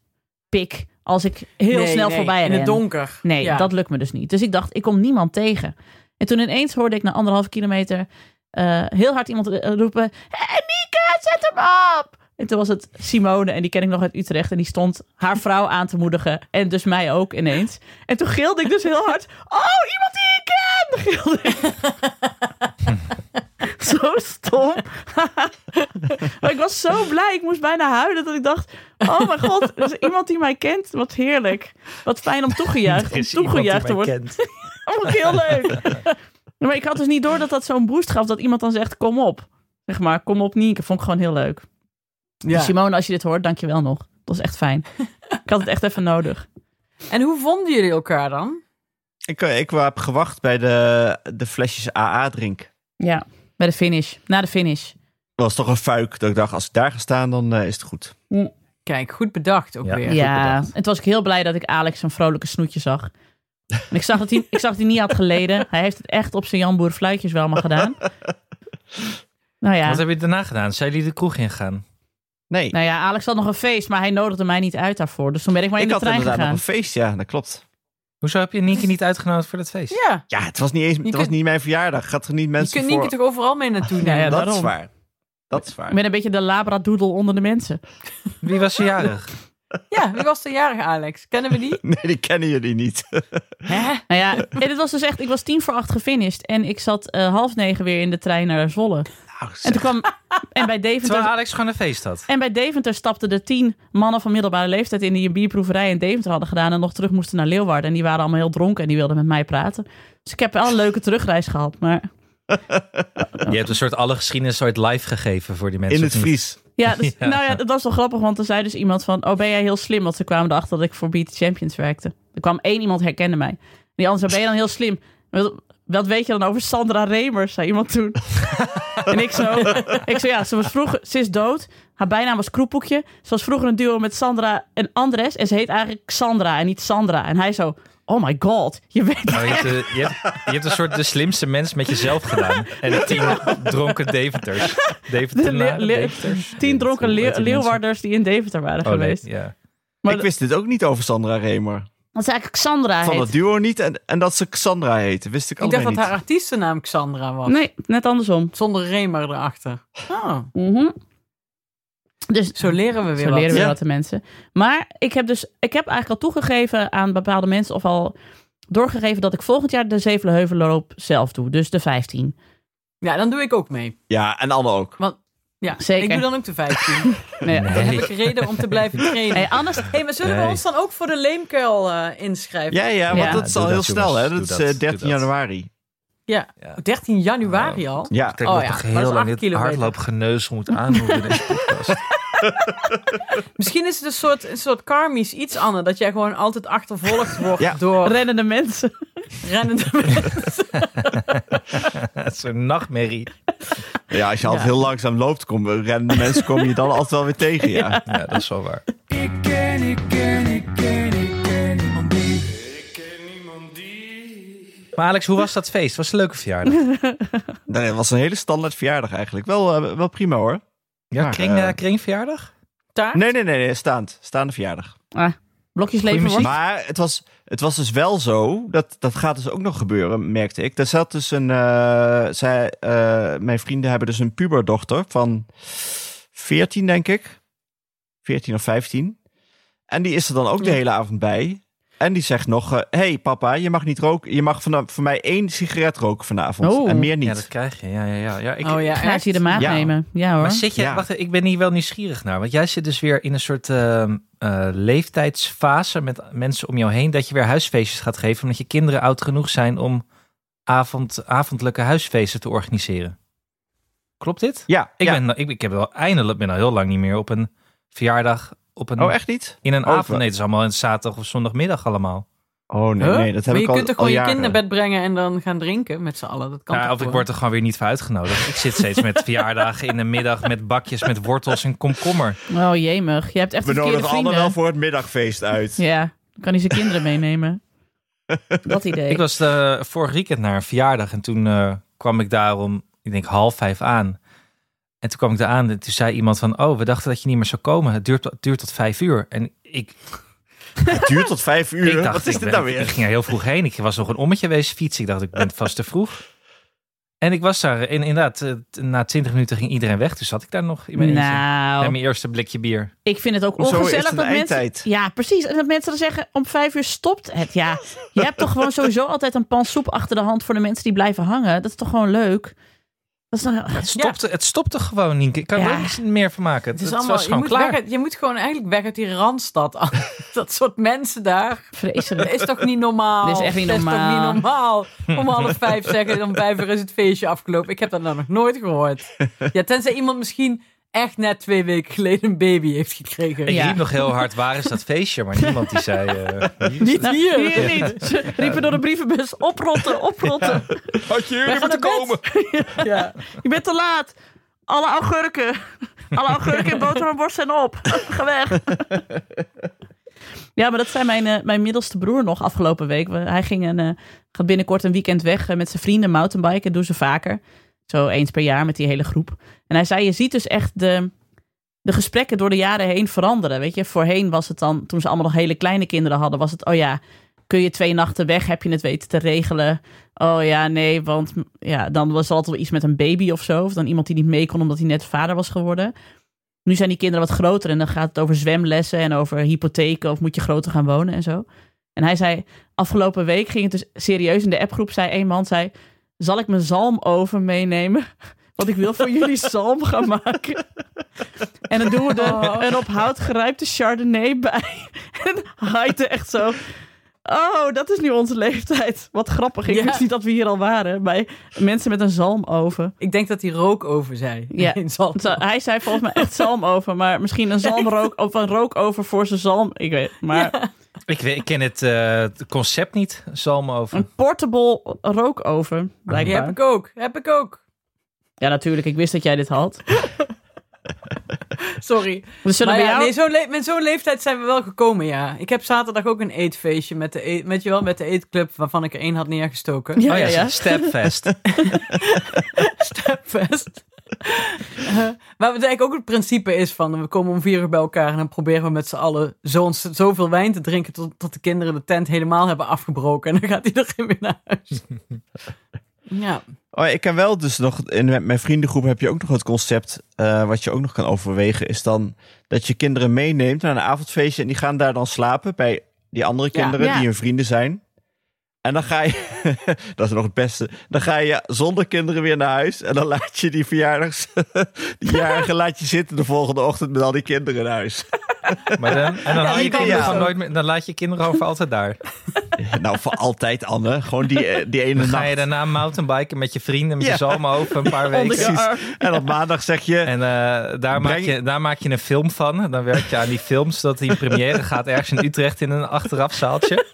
Speaker 3: pik. Als ik heel
Speaker 4: Nee,
Speaker 3: snel
Speaker 4: nee,
Speaker 3: voorbij
Speaker 4: In het
Speaker 3: ren.
Speaker 4: donker.
Speaker 3: Nee,
Speaker 4: Ja.
Speaker 3: dat lukt me dus niet. Dus ik dacht, ik kom niemand tegen. En toen ineens hoorde ik na anderhalve kilometer eh, heel hard iemand eh, roepen... Hé, hey, Nika, zet hem op! En toen was het Simone, en die ken ik nog uit Utrecht. En die stond haar vrouw aan te moedigen. En dus mij ook ineens. En toen gilde ik dus heel hard. Oh, iemand die ik ken! Gilde ik. zo stom. maar ik was zo blij. Ik moest bijna huilen dat ik dacht... Oh mijn god, dat is iemand die mij kent. Wat heerlijk. Wat fijn om toegejuicht,
Speaker 2: Er
Speaker 3: om
Speaker 2: is iemand die
Speaker 3: toegejuicht
Speaker 2: mij
Speaker 3: te worden.
Speaker 2: kent.
Speaker 3: Dat vond ik heel leuk. Ja, maar ik had dus niet door dat dat zo'n boost gaf. Dat iemand dan zegt, kom op. Zeg maar, kom op Nienke. Vond ik gewoon heel leuk.
Speaker 4: Ja.
Speaker 3: Dus Simone, als je dit hoort, dank je wel nog. Dat was echt fijn. ik had het echt even nodig.
Speaker 4: En hoe vonden jullie elkaar dan?
Speaker 5: Ik, eh, ik heb gewacht bij de, de flesjes AA-drink.
Speaker 3: Ja. Bij de finish. Na de finish.
Speaker 5: was toch een fuik dat ik dacht, als ik daar ga staan, dan eh, is het goed.
Speaker 4: Kijk, goed bedacht ook
Speaker 2: Ja.
Speaker 4: weer.
Speaker 3: Ja. En toen was ik heel blij dat ik Alex een vrolijke snoetje zag. En ik zag dat hij, ik zag dat hij niet had geleden. Hij heeft het echt op zijn Janboer fluitjes wel maar gedaan. Nou ja.
Speaker 2: Wat heb je daarna gedaan? Zijn jullie de kroeg ingegaan?
Speaker 5: Nee,
Speaker 3: nou ja, Alex had nog een feest, maar hij nodigde mij niet uit daarvoor. Dus toen ben ik maar in
Speaker 5: ik
Speaker 3: de
Speaker 5: had
Speaker 3: trein
Speaker 5: inderdaad nog
Speaker 3: gegaan.
Speaker 5: een feest, ja, dat klopt.
Speaker 2: Hoezo heb je Nienke niet uitgenodigd voor dat feest?
Speaker 4: Ja.
Speaker 5: Ja, het was niet, eens, het
Speaker 4: kunt-
Speaker 5: was niet mijn verjaardag. Gaat er niet
Speaker 4: Je
Speaker 5: mensen
Speaker 4: kunt
Speaker 5: voor...
Speaker 4: Nienke toch overal mee naartoe nemen?
Speaker 3: Ja, ja,
Speaker 5: dat
Speaker 3: daarom.
Speaker 5: is waar. Dat is waar.
Speaker 3: Ik ben een beetje de labradoedel onder de mensen.
Speaker 2: Wie was er jarig?
Speaker 4: Ja, wie was de jarige Alex? Kennen we die?
Speaker 5: Nee, die kennen jullie niet.
Speaker 4: Hè?
Speaker 3: Nou ja, en het was dus echt, ik was tien voor acht gefinished. En ik zat eh, half negen weer in de trein naar Zwolle.
Speaker 5: Nou,
Speaker 3: En toen kwam, en bij
Speaker 2: Terwijl
Speaker 3: Deventer...
Speaker 2: Alex gewoon een feest had.
Speaker 3: En bij Deventer stapten de tien mannen van middelbare leeftijd in die een bierproeverij in Deventer hadden gedaan en nog terug moesten naar Leeuwarden. En die waren allemaal heel dronken en die wilden met mij praten. Dus ik heb wel een leuke terugreis gehad. Maar
Speaker 2: Je hebt een soort alle geschiedenis soort live gegeven voor die mensen.
Speaker 5: In het
Speaker 2: of niet?
Speaker 5: Fries.
Speaker 3: Ja, dus,
Speaker 2: Ja.
Speaker 3: nou ja, dat was wel grappig, want er zei dus iemand van... Oh, ben jij heel slim? Want ze kwamen erachter dat ik voor Beat the Champions werkte. Er kwam één iemand herkende mij. Die anders ben je dan heel slim? Wat, wat weet je dan over Sandra Remers? Zei iemand toen. en ik zo, ik zo, ja, ze was vroeger... Ze is dood. Haar bijnaam was Kroepoekje. Ze was vroeger een duo met Sandra en Andres. En ze heet eigenlijk Sandra en niet Sandra. En hij zo... Oh my god, je weet
Speaker 2: Oh, je, hebt, eh, je, hebt, je hebt een soort de slimste mens met jezelf gedaan. En de tien dronken Deventers.
Speaker 3: de
Speaker 2: Deventer,
Speaker 3: leer- leer- tien dronken leer- leeuwarders die in Deventer waren
Speaker 2: Oh, nee,
Speaker 3: geweest.
Speaker 2: ja.
Speaker 3: Maar
Speaker 5: ik
Speaker 3: dat-
Speaker 5: wist dit ook niet over Sandra Remer.
Speaker 3: Dat ze eigenlijk Sandra
Speaker 5: Van
Speaker 3: heet.
Speaker 5: het duo niet en, en dat ze Xandra heette. Wist ik
Speaker 4: Ik dacht
Speaker 5: allemaal
Speaker 4: dat
Speaker 5: niet.
Speaker 4: haar artiestennaam Xandra was.
Speaker 3: Nee, net andersom.
Speaker 4: Zonder Remer erachter. Oh,
Speaker 3: Mhm. Dus
Speaker 4: zo leren we weer
Speaker 3: zo
Speaker 4: wat.
Speaker 3: leren we
Speaker 5: Ja.
Speaker 3: dat de mensen. Maar ik heb dus ik heb eigenlijk al toegegeven aan bepaalde mensen of al doorgegeven dat ik volgend jaar de Zevelenheuvelloop zelf doe. Dus de 15.
Speaker 4: Ja, dan doe ik ook mee.
Speaker 5: Ja, en Anne ook.
Speaker 4: Ja,
Speaker 3: Zeker.
Speaker 4: Ik doe dan ook de 15.
Speaker 3: Nee.
Speaker 2: Nee.
Speaker 4: Dan heb ik reden om te blijven trainen.
Speaker 3: Nee,
Speaker 4: Hé,
Speaker 3: anders,
Speaker 4: hey, maar zullen
Speaker 2: Nee.
Speaker 4: we ons dan ook voor de leemkuil eh, inschrijven?
Speaker 5: Ja, ja, want
Speaker 3: Ja.
Speaker 5: dat is
Speaker 2: Doe
Speaker 5: al heel
Speaker 2: dat,
Speaker 5: snel,
Speaker 2: jongens.
Speaker 5: hè?
Speaker 2: Doe
Speaker 5: Dat is
Speaker 2: dat.
Speaker 5: eh,
Speaker 2: Doe
Speaker 5: 13
Speaker 2: dat.
Speaker 5: januari.
Speaker 4: Ja.
Speaker 2: Ja.
Speaker 4: 13 januari al?
Speaker 5: Ja,
Speaker 2: Ik
Speaker 4: Oh,
Speaker 2: oh,
Speaker 4: ja,
Speaker 2: nog
Speaker 4: maar dat
Speaker 2: heel
Speaker 4: is
Speaker 2: lang
Speaker 4: acht
Speaker 2: dit
Speaker 4: kilometer.
Speaker 2: hardloopgeneuzel moet aanhouden in deze podcast.
Speaker 4: Misschien is het een soort, een soort karmisch iets, Anne. Dat jij gewoon altijd achtervolgd wordt
Speaker 5: Ja.
Speaker 4: door
Speaker 3: rennende mensen.
Speaker 4: rennende mensen.
Speaker 2: Het is een nachtmerrie.
Speaker 5: Ja, als je altijd heel langzaam loopt, kom, rennen mensen komen je dan altijd wel weer tegen, ja.
Speaker 2: Ja, dat is wel waar.
Speaker 6: Ik ken, ik ken, ik ken, ik ken niemand die. Ik ken niemand die.
Speaker 2: Maar Alex, hoe was dat feest? Was het een leuke verjaardag?
Speaker 5: Nee, het was een hele standaard verjaardag eigenlijk. Wel, eh, wel prima, hoor.
Speaker 2: Ja,
Speaker 5: Maar,
Speaker 2: kring,
Speaker 5: eh,
Speaker 2: eh, kringverjaardag?
Speaker 4: Taart?
Speaker 5: Nee, nee, nee, nee staand. Staande verjaardag.
Speaker 3: Ah, blokjes leven
Speaker 2: Goeie
Speaker 3: wordt.
Speaker 5: Maar het was, het was dus wel zo, dat, dat gaat dus ook nog gebeuren, merkte ik. Er zat dus een, eh, zij, eh, mijn vrienden hebben dus een puberdochter van 14, denk ik. 14 of 15. En die is er dan ook de hele avond bij. En die zegt nog, eh, hey papa, je mag niet roken. Je mag van, van mij één sigaret roken vanavond.
Speaker 3: Oh.
Speaker 5: En meer
Speaker 2: Ja, dat
Speaker 5: niet.
Speaker 2: krijg je. Ja, ja, ja. ja ik,
Speaker 4: oh ja,
Speaker 3: Gaat
Speaker 4: echt?
Speaker 3: je de maat
Speaker 5: Ja.
Speaker 3: nemen. Ja hoor.
Speaker 2: Maar zit je,
Speaker 5: Ja.
Speaker 2: wacht, ik ben hier wel nieuwsgierig naar. Want jij zit dus weer in een soort ehm, eh, leeftijdsfase met mensen om jou heen. Dat je weer huisfeestjes gaat geven. Omdat je kinderen oud genoeg zijn om avond, avondelijke huisfeesten te organiseren. Klopt dit?
Speaker 5: Ja,
Speaker 2: Ik,
Speaker 5: ja.
Speaker 2: ben, nou, ik, ik heb wel eindelijk, ben al heel lang niet meer op een verjaardag. Op een,
Speaker 5: Oh, echt niet?
Speaker 2: In een
Speaker 5: Oh,
Speaker 2: avond.
Speaker 5: wel.
Speaker 2: Nee, het is allemaal een zaterdag of zondagmiddag allemaal.
Speaker 5: Oh nee,
Speaker 4: Huh?
Speaker 5: nee, dat heb
Speaker 4: maar
Speaker 5: ik
Speaker 4: je
Speaker 5: al
Speaker 4: kunt toch gewoon
Speaker 5: al
Speaker 4: je kind
Speaker 5: jaren.
Speaker 4: naar bed brengen en dan gaan drinken met z'n allen? Dat kan
Speaker 2: Ja,
Speaker 4: toch
Speaker 2: of ik
Speaker 4: gewoon?
Speaker 2: word er gewoon weer niet voor uitgenodigd. Ik zit steeds met verjaardagen in de middag met bakjes met wortels en komkommer.
Speaker 3: Oh jemig. Je hebt echt
Speaker 5: We
Speaker 3: verkeerde
Speaker 5: nodigen allemaal
Speaker 3: vrienden.
Speaker 5: wel voor het middagfeest uit.
Speaker 3: Ja, dan kan hij zijn kinderen meenemen. Dat idee.
Speaker 2: Ik was eh, vorig weekend naar een verjaardag en toen eh, kwam ik daar om, ik denk half vijf aan. En toen kwam ik daar aan en toen zei iemand van, oh, we dachten dat je niet meer zou komen. Het duurt, het duurt tot vijf uur. En ik,
Speaker 5: Het duurt tot vijf uur.
Speaker 2: ik dacht,
Speaker 5: Wat is
Speaker 2: ik,
Speaker 5: dit
Speaker 2: ben-
Speaker 5: nou
Speaker 2: ik
Speaker 5: weer?
Speaker 2: ging er heel vroeg heen. Ik was nog een ommetje wezen fietsen. Ik dacht, ik ben vast te vroeg. En ik was daar, en inderdaad, eh, t- na twintig minuten ging iedereen weg. Toen zat ik daar nog in mijn eentje.
Speaker 3: nou,
Speaker 2: En mijn eerste blikje bier.
Speaker 3: Ik vind het ook
Speaker 5: Hoezo
Speaker 3: ongezellig
Speaker 5: is het een
Speaker 3: dat mensen.
Speaker 5: eindtijd?
Speaker 3: Ja, precies. En dat mensen dan zeggen: om vijf uur stopt het. Ja, je hebt toch gewoon sowieso altijd een pan soep achter de hand voor de mensen die blijven hangen. Dat is toch gewoon leuk. Dat is dan,
Speaker 2: Het stopte, het stopte gewoon niet. Ik kan er
Speaker 3: Ja.
Speaker 2: ook niks meer van maken. Het,
Speaker 4: Het is
Speaker 2: het
Speaker 4: allemaal,
Speaker 2: was
Speaker 4: je,
Speaker 2: gewoon
Speaker 4: moet
Speaker 2: klaar.
Speaker 4: weg uit- je moet gewoon eigenlijk weg uit die randstad. Anne. Dat soort mensen daar. Dat
Speaker 3: vreselijk.
Speaker 4: is toch niet normaal?
Speaker 3: Dit is echt niet
Speaker 4: Dat toch
Speaker 3: normaal.
Speaker 4: niet normaal? Om half vijf zeggen, om vijf uur is het feestje afgelopen. Ik heb dat nou nog nooit gehoord. Ja, tenzij iemand misschien echt net twee weken geleden een baby heeft gekregen.
Speaker 2: Ik
Speaker 3: Ja.
Speaker 2: riep nog heel hard, waar is dat feestje? Maar niemand die zei... eh, hier is
Speaker 4: Niet
Speaker 2: het.
Speaker 3: Nou,
Speaker 4: hier.
Speaker 3: hier niet. Ze riepen door de brievenbus: oprotten, oprotten.
Speaker 5: Had je
Speaker 4: Wij gaan naar bed. Ja.
Speaker 3: Je bent te laat. Alle augurken. Alle augurken en boter en worst zijn op. Ga weg. Ja, maar dat zei mijn, eh, mijn middelste broer nog afgelopen week. We- Hij ging een, eh, gaat binnenkort een weekend weg eh, met zijn vrienden mountainbiken. Doen ze vaker. Zo eens per jaar met die hele groep. En hij zei, je ziet dus echt de, de gesprekken door de jaren heen veranderen. Weet je, voorheen was het dan, toen ze allemaal nog hele kleine kinderen hadden, was het, oh ja, kun je twee nachten weg? Heb je het weten te regelen? Oh ja, nee, want mm, ja, dan was er altijd wel iets met een baby of zo. Of dan iemand die niet mee kon omdat hij net vader was geworden. Nu zijn die kinderen wat groter en dan gaat het over zwemlessen en over hypotheken of moet je groter gaan wonen en zo. En hij zei, afgelopen week ging het dus serieus in de appgroep, zei een man, zei, zal ik mijn zalmoven meenemen? Want ik wil voor jullie zalm gaan maken. En dan doen we er een op hout gerijpte chardonnay bij. En hij haait echt zo. Oh, dat is nu onze leeftijd. Wat grappig. Ik
Speaker 4: Ja.
Speaker 3: wist niet dat we hier al waren. Bij mensen met een zalmoven.
Speaker 4: Ik denk dat hij rook over zei.
Speaker 3: Ja.
Speaker 4: In Zalm.
Speaker 3: Zo, Hij zei volgens mij echt zalmoven. Maar misschien een zalmrook of een rookover voor zijn zalm. Ik weet het. Maar
Speaker 2: Ik, weet- ik ken het eh, concept niet, zalmoven.
Speaker 3: een portable rookover,
Speaker 4: Die heb
Speaker 3: blijkbaar.
Speaker 4: ik ook. Heb ik ook.
Speaker 3: Ja, natuurlijk. Ik wist dat jij dit had.
Speaker 4: Sorry.
Speaker 3: Dus zullen
Speaker 4: Maar
Speaker 3: we
Speaker 4: ja,
Speaker 3: jou...
Speaker 4: nee, zo'n le- met zo'n leeftijd zijn we wel gekomen, ja. Ik heb zaterdag ook een eetfeestje met de, eet, met je wel, met de eetclub waarvan ik er één had neergestoken.
Speaker 3: Ja,
Speaker 2: oh
Speaker 3: ja,
Speaker 2: ja,
Speaker 3: ja.
Speaker 2: Stepfest.
Speaker 4: Stepfest. Eh, waar het eigenlijk ook het principe is van, we komen om vier uur bij elkaar en dan proberen we met z'n allen zo zoveel wijn te drinken tot, tot de kinderen de tent helemaal hebben afgebroken. En dan gaat iedereen weer naar huis. ja.
Speaker 5: Oh, ik ken wel dus nog, in mijn- mijn vriendengroep heb je ook nog het concept, eh, wat je ook nog kan overwegen, is dan dat je kinderen meeneemt naar een avondfeestje en die gaan daar dan slapen bij die andere
Speaker 4: Ja.
Speaker 5: kinderen
Speaker 3: Ja.
Speaker 5: die hun vrienden zijn. En dan ga je, dat is nog het beste, dan ga je zonder kinderen weer naar huis en dan laat je die verjaardags, die jarigen laat je zitten de volgende ochtend met al die kinderen naar huis.
Speaker 2: Maar dan, en dan, haal je
Speaker 5: die kan
Speaker 2: kinderen
Speaker 5: je
Speaker 2: gewoon
Speaker 5: ook.
Speaker 2: nooit meer, dan laat je kinderen over altijd daar.
Speaker 5: nou, voor altijd Anne, gewoon die, eh, die ene
Speaker 2: Dan ga je
Speaker 5: nacht.
Speaker 2: daarna mountainbiken met je vrienden, met
Speaker 5: Ja.
Speaker 2: je zalmoven een paar
Speaker 3: Onder
Speaker 2: weken.
Speaker 3: je arm.
Speaker 5: En op maandag zeg je,
Speaker 2: En eh, daar, maak
Speaker 5: Breng-
Speaker 2: je, daar maak je een film van. Dan werk je aan die film, zodat die in première gaat ergens in Utrecht in een achterafzaaltje.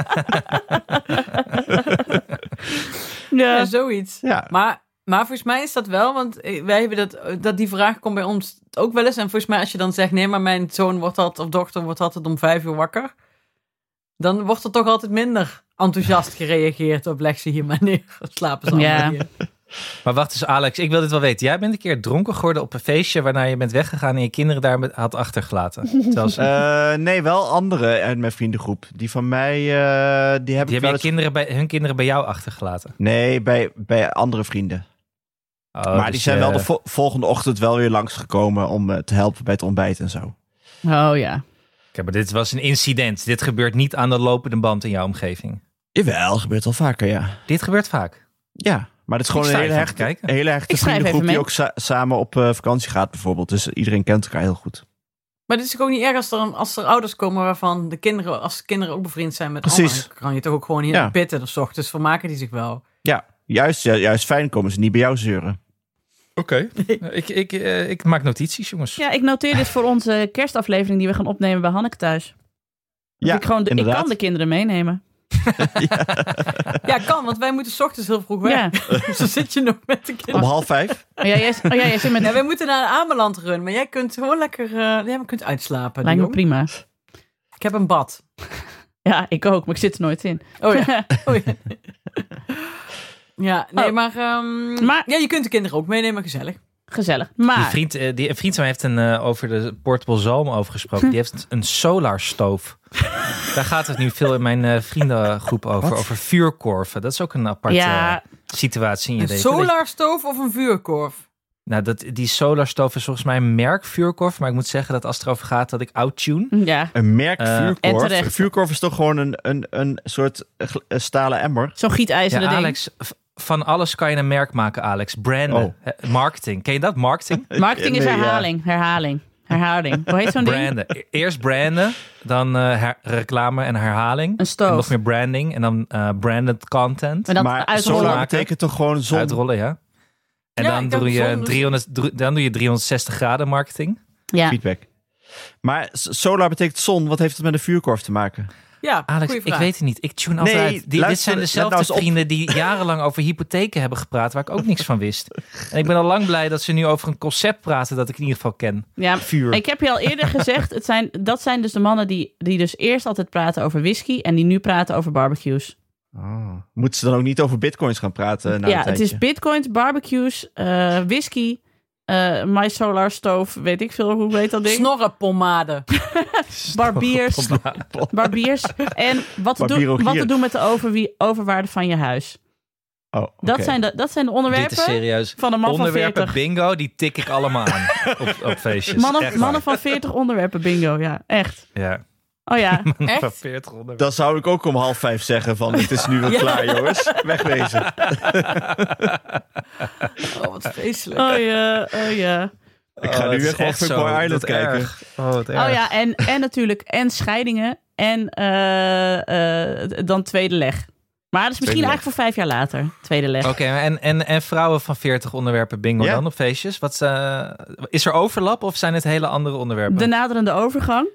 Speaker 3: Ja. Eh,
Speaker 4: Ja, zoiets.
Speaker 5: ja,
Speaker 4: Maar, maar volgens mij is dat wel, want eh, wij hebben dat, dat die vraag komt bij ons ook wel eens. En volgens mij als je dan zegt, nee, maar mijn zoon wordt altijd, of dochter wordt altijd om vijf uur wakker. Dan wordt er toch altijd minder enthousiast gereageerd op leg ze hier maar neer. of Slapen ze allemaal
Speaker 3: Ja.
Speaker 4: hier.
Speaker 2: Maar wacht eens, Alex, ik wil dit wel weten. Jij bent een keer dronken geworden op een feestje waarna je bent weggegaan en je kinderen daar met- had achtergelaten. Terwijl ze-
Speaker 5: Eh, nee, wel andere uit mijn vriendengroep. Die van mij, eh, die heb
Speaker 2: die
Speaker 5: ik
Speaker 2: hebben
Speaker 5: wel
Speaker 2: je
Speaker 5: eens...
Speaker 2: kinderen bij, hun kinderen bij jou achtergelaten.
Speaker 5: Nee, bij, bij andere vrienden.
Speaker 2: Oh,
Speaker 5: maar
Speaker 2: dus
Speaker 5: die zijn
Speaker 2: je-
Speaker 5: wel de vo- volgende ochtend wel weer langsgekomen om eh, te helpen bij het ontbijt en zo.
Speaker 3: Oh ja.
Speaker 2: Kijk, maar dit was een incident. Dit gebeurt niet aan de lopende band in jouw omgeving.
Speaker 5: Jawel, gebeurt al vaker, ja.
Speaker 2: Dit gebeurt vaak.
Speaker 5: Ja, maar het is gewoon
Speaker 2: Ik
Speaker 5: een
Speaker 2: sta
Speaker 5: hele
Speaker 2: ervan te
Speaker 5: hechte,
Speaker 2: kijken.
Speaker 5: een hele hechte
Speaker 3: Ik schrijf
Speaker 5: vriendengroep
Speaker 3: even
Speaker 5: die
Speaker 3: mee.
Speaker 5: ook sa- samen op eh, vakantie gaat bijvoorbeeld. Dus iedereen kent elkaar heel goed.
Speaker 4: Maar het is ook niet erg als er, een- als er ouders komen waarvan de kinderen, als de kinderen ook bevriend zijn met
Speaker 5: Precies.
Speaker 4: anderen, kan je toch ook gewoon hier
Speaker 5: Ja.
Speaker 4: in pitten of 's ochtends vermaken die zich wel.
Speaker 5: Ja, juist, ju- juist fijn komen ze niet bij jou zeuren.
Speaker 2: Oké. Ik, ik, eh, ik maak notities, jongens.
Speaker 3: Ja, ik noteer dit voor onze kerstaflevering die we gaan opnemen bij Hanneke thuis. Dat
Speaker 5: Ja,
Speaker 3: ik, gewoon de, ik
Speaker 5: inderdaad.
Speaker 3: kan de kinderen meenemen.
Speaker 4: Ja, kan, want wij moeten 's ochtends heel vroeg weg.
Speaker 3: Ja.
Speaker 4: Dus dan zit je nog met de kinderen.
Speaker 5: Om half vijf.
Speaker 3: Oh, ja, jij, oh, ja, jij zit met...
Speaker 4: Ja, wij moeten naar Ameland runnen, maar jij kunt gewoon lekker eh, ja, maar kunt uitslapen.
Speaker 3: Lijkt me
Speaker 4: Dion.
Speaker 3: prima.
Speaker 4: Ik heb een bad.
Speaker 3: Ja, ik ook, maar ik zit er nooit in.
Speaker 4: Oh ja. Oh, ja. Ja, nee,
Speaker 3: Oh.
Speaker 4: maar, ehm,
Speaker 3: Maar-
Speaker 4: Ja, je kunt de kinderen ook meenemen, gezellig.
Speaker 3: Gezellig.
Speaker 2: Die
Speaker 3: Maar
Speaker 2: vriend, eh, die, een vriend van mij heeft een, eh, over de portable zalm over gesproken. Die heeft een solarstoof. Daar gaat het nu veel in mijn eh, vriendengroep over.
Speaker 5: Wat?
Speaker 2: Over vuurkorven. Dat is ook een aparte
Speaker 3: ja,
Speaker 2: eh, situatie in je
Speaker 4: Een
Speaker 2: leven. Dat je-
Speaker 4: solarstoof of een vuurkorf?
Speaker 2: nou, dat, die solarstoof is volgens mij een merk vuurkorf. Maar ik moet zeggen dat als het erover gaat dat ik outtune.
Speaker 3: hm, ja.
Speaker 5: Een merk
Speaker 2: Eh,
Speaker 3: en
Speaker 5: vuurkorf.
Speaker 3: terecht.
Speaker 5: Een vuurkorf is toch gewoon een, een, een soort eh, gl- eh, stalen emmer?
Speaker 3: zo'n
Speaker 2: Ja,
Speaker 3: gietijzeren ding.
Speaker 2: Alex, v- van alles kan je een merk maken, Alex. Branden,
Speaker 5: Oh.
Speaker 2: Eh, marketing. Ken je dat? Marketing?
Speaker 3: Marketing is
Speaker 5: eh, Nee, ja.
Speaker 3: herhaling, herhaling, herhaling. Hoe heet zo'n ding?
Speaker 2: branden. E- Eerst branden, dan eh, her- reclame en herhaling.
Speaker 3: Een stoof.
Speaker 2: En nog meer branding en dan eh, branded content.
Speaker 3: Maar dat
Speaker 5: maar
Speaker 3: uitrollen.
Speaker 5: solar
Speaker 2: maken.
Speaker 5: betekent toch gewoon zon?
Speaker 2: Uitrollen, ja. En
Speaker 4: Ja,
Speaker 2: dan,
Speaker 4: ik dacht
Speaker 2: doe je
Speaker 4: zon-
Speaker 2: 300, dro- dan doe je 360 graden marketing.
Speaker 3: Ja.
Speaker 5: feedback. Maar s- solar betekent zon. Wat heeft het met een vuurkorf te maken?
Speaker 4: Ja,
Speaker 2: Alex,
Speaker 4: goeie
Speaker 2: ik
Speaker 4: vraag.
Speaker 2: weet het niet. Ik tune altijd
Speaker 5: Nee,
Speaker 2: uit. Die, dit
Speaker 5: luister,
Speaker 2: zijn
Speaker 5: let nou
Speaker 2: dezelfde
Speaker 5: eens op.
Speaker 2: vrienden die jarenlang over hypotheken hebben gepraat, waar ik ook niks van wist. En ik ben al lang blij dat ze nu over een concept praten dat ik in ieder geval ken.
Speaker 3: ja.
Speaker 2: Vuur.
Speaker 3: Ik heb je al eerder gezegd, het zijn, dat zijn dus de mannen die, die dus eerst altijd praten over whisky en die nu praten over barbecues.
Speaker 2: Oh.
Speaker 5: Moeten ze dan ook niet over bitcoins gaan praten?
Speaker 3: ja,
Speaker 5: Na een
Speaker 3: het
Speaker 5: tijdje?
Speaker 3: is bitcoins, barbecues, eh, whisky, eh my solar stove, weet ik veel, hoe heet dat ding?
Speaker 4: Snorrenpomade.
Speaker 3: barbiers, barbiers en wat te, doen,
Speaker 5: Barbierogier.
Speaker 3: wat te doen met de overwie- overwaarde van je huis.
Speaker 5: Oh, oké.
Speaker 3: Dat, zijn de, dat zijn de
Speaker 2: Dit is
Speaker 3: onderwerpen
Speaker 2: serieus.
Speaker 3: van een man van
Speaker 2: Onderwerpen
Speaker 3: 40.
Speaker 2: bingo, die tik ik allemaal aan op, op feestjes. Echt
Speaker 3: Mannen,
Speaker 2: waar.
Speaker 3: mannen van 40 onderwerpen, bingo, ja, echt.
Speaker 2: Ja.
Speaker 3: Oh ja,
Speaker 2: Mannen van
Speaker 4: Echt?
Speaker 2: 40 onderwerpen.
Speaker 5: Dan zou ik ook om half vijf zeggen van het is nu wel
Speaker 4: Ja.
Speaker 5: klaar jongens. Wegwezen.
Speaker 4: Oh, wat vreselijk.
Speaker 3: oh ja, oh ja.
Speaker 5: Ik ga nu
Speaker 2: Oh, dat
Speaker 5: weer
Speaker 2: is
Speaker 5: gewoon
Speaker 2: echt
Speaker 5: Fuckboy
Speaker 2: zo.
Speaker 5: Island
Speaker 2: Wat
Speaker 5: kijken.
Speaker 2: erg. Oh, wat erg.
Speaker 3: Oh ja, en, en natuurlijk en scheidingen En eh, eh, dan tweede leg. Maar dat is misschien
Speaker 5: Tweede
Speaker 3: eigenlijk
Speaker 5: leg.
Speaker 3: voor vijf jaar later. Tweede leg.
Speaker 2: Oké, maar en, en, en vrouwen van 40 onderwerpen bingo
Speaker 5: Ja.
Speaker 2: dan op feestjes? Wat, eh, is er overlap of zijn het hele andere onderwerpen?
Speaker 3: De naderende overgang.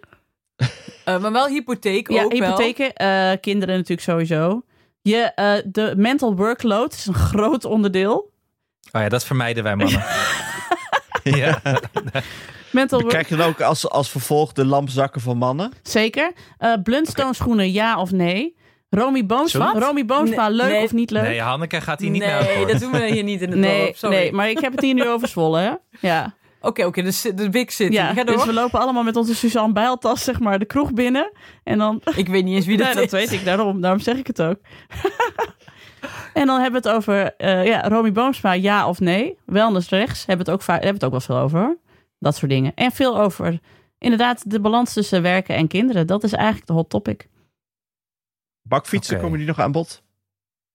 Speaker 4: Eh, maar wel hypotheek
Speaker 3: Ja,
Speaker 4: ook wel.
Speaker 3: hypotheken. eh, kinderen natuurlijk sowieso. Je, eh, de mental workload is een groot onderdeel.
Speaker 2: Oh ja, dat vermijden wij mannen. ja.
Speaker 3: Mental work-
Speaker 5: Krijg je dan ook als, als vervolg de lampzakken van mannen?
Speaker 3: Zeker. Eh Blundstone schoenen, ja of nee? Romy Boomsma,
Speaker 2: Sorry?
Speaker 3: Romy Boomsma
Speaker 4: Nee,
Speaker 3: leuk
Speaker 4: nee.
Speaker 3: of niet leuk?
Speaker 2: Nee, Hanneke gaat hier niet naar
Speaker 4: nee,
Speaker 2: voor.
Speaker 4: dat doen we hier niet in het
Speaker 3: nee,
Speaker 4: dorp. Sorry.
Speaker 3: nee, maar ik heb het hier nu over Zwolle, hè? Ja,
Speaker 4: Oké, oké, dus de Big City.
Speaker 3: ja.
Speaker 4: Ga door.
Speaker 3: dus we lopen allemaal met onze Suzanne Bijltas, zeg maar, de kroeg binnen. En dan,
Speaker 4: Ik weet niet eens wie dat
Speaker 3: Nee,
Speaker 4: is.
Speaker 3: dat weet ik, daarom, daarom zeg ik het ook. en dan hebben we het over, eh, ja, Romy Boomsma, ja of nee? Wellness rechts, hebben we het ook, va- hebben we het ook wel veel over, hoor. Dat soort dingen. En veel over, inderdaad, de balans tussen werken en kinderen. Dat is eigenlijk de hot topic.
Speaker 5: Bakfietsen,
Speaker 2: Oké.
Speaker 5: komen die nog aan bod?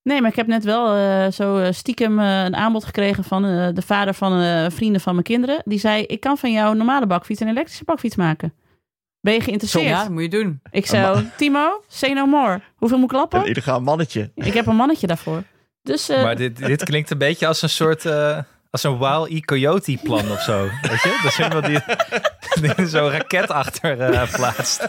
Speaker 3: Nee, maar ik heb net wel eh, zo eh, stiekem eh, een aanbod gekregen van eh, de vader van eh, vrienden van mijn kinderen. Die zei, ik kan van jou een normale bakfiets een elektrische bakfiets maken. Ben je
Speaker 4: Zo,
Speaker 3: geïnteresseerd?
Speaker 4: ja, dat moet je doen.
Speaker 3: Ik zou, Timo, say no more. Hoeveel moet ik klappen?
Speaker 5: Een illegaal mannetje.
Speaker 3: Ik heb een mannetje daarvoor. Dus eh,
Speaker 2: Maar dit, dit klinkt een beetje als een soort... eh, als een Wild E. Coyote plan of zo. Weet je? Dat is iemand die, die zo'n raket achter eh, plaatst.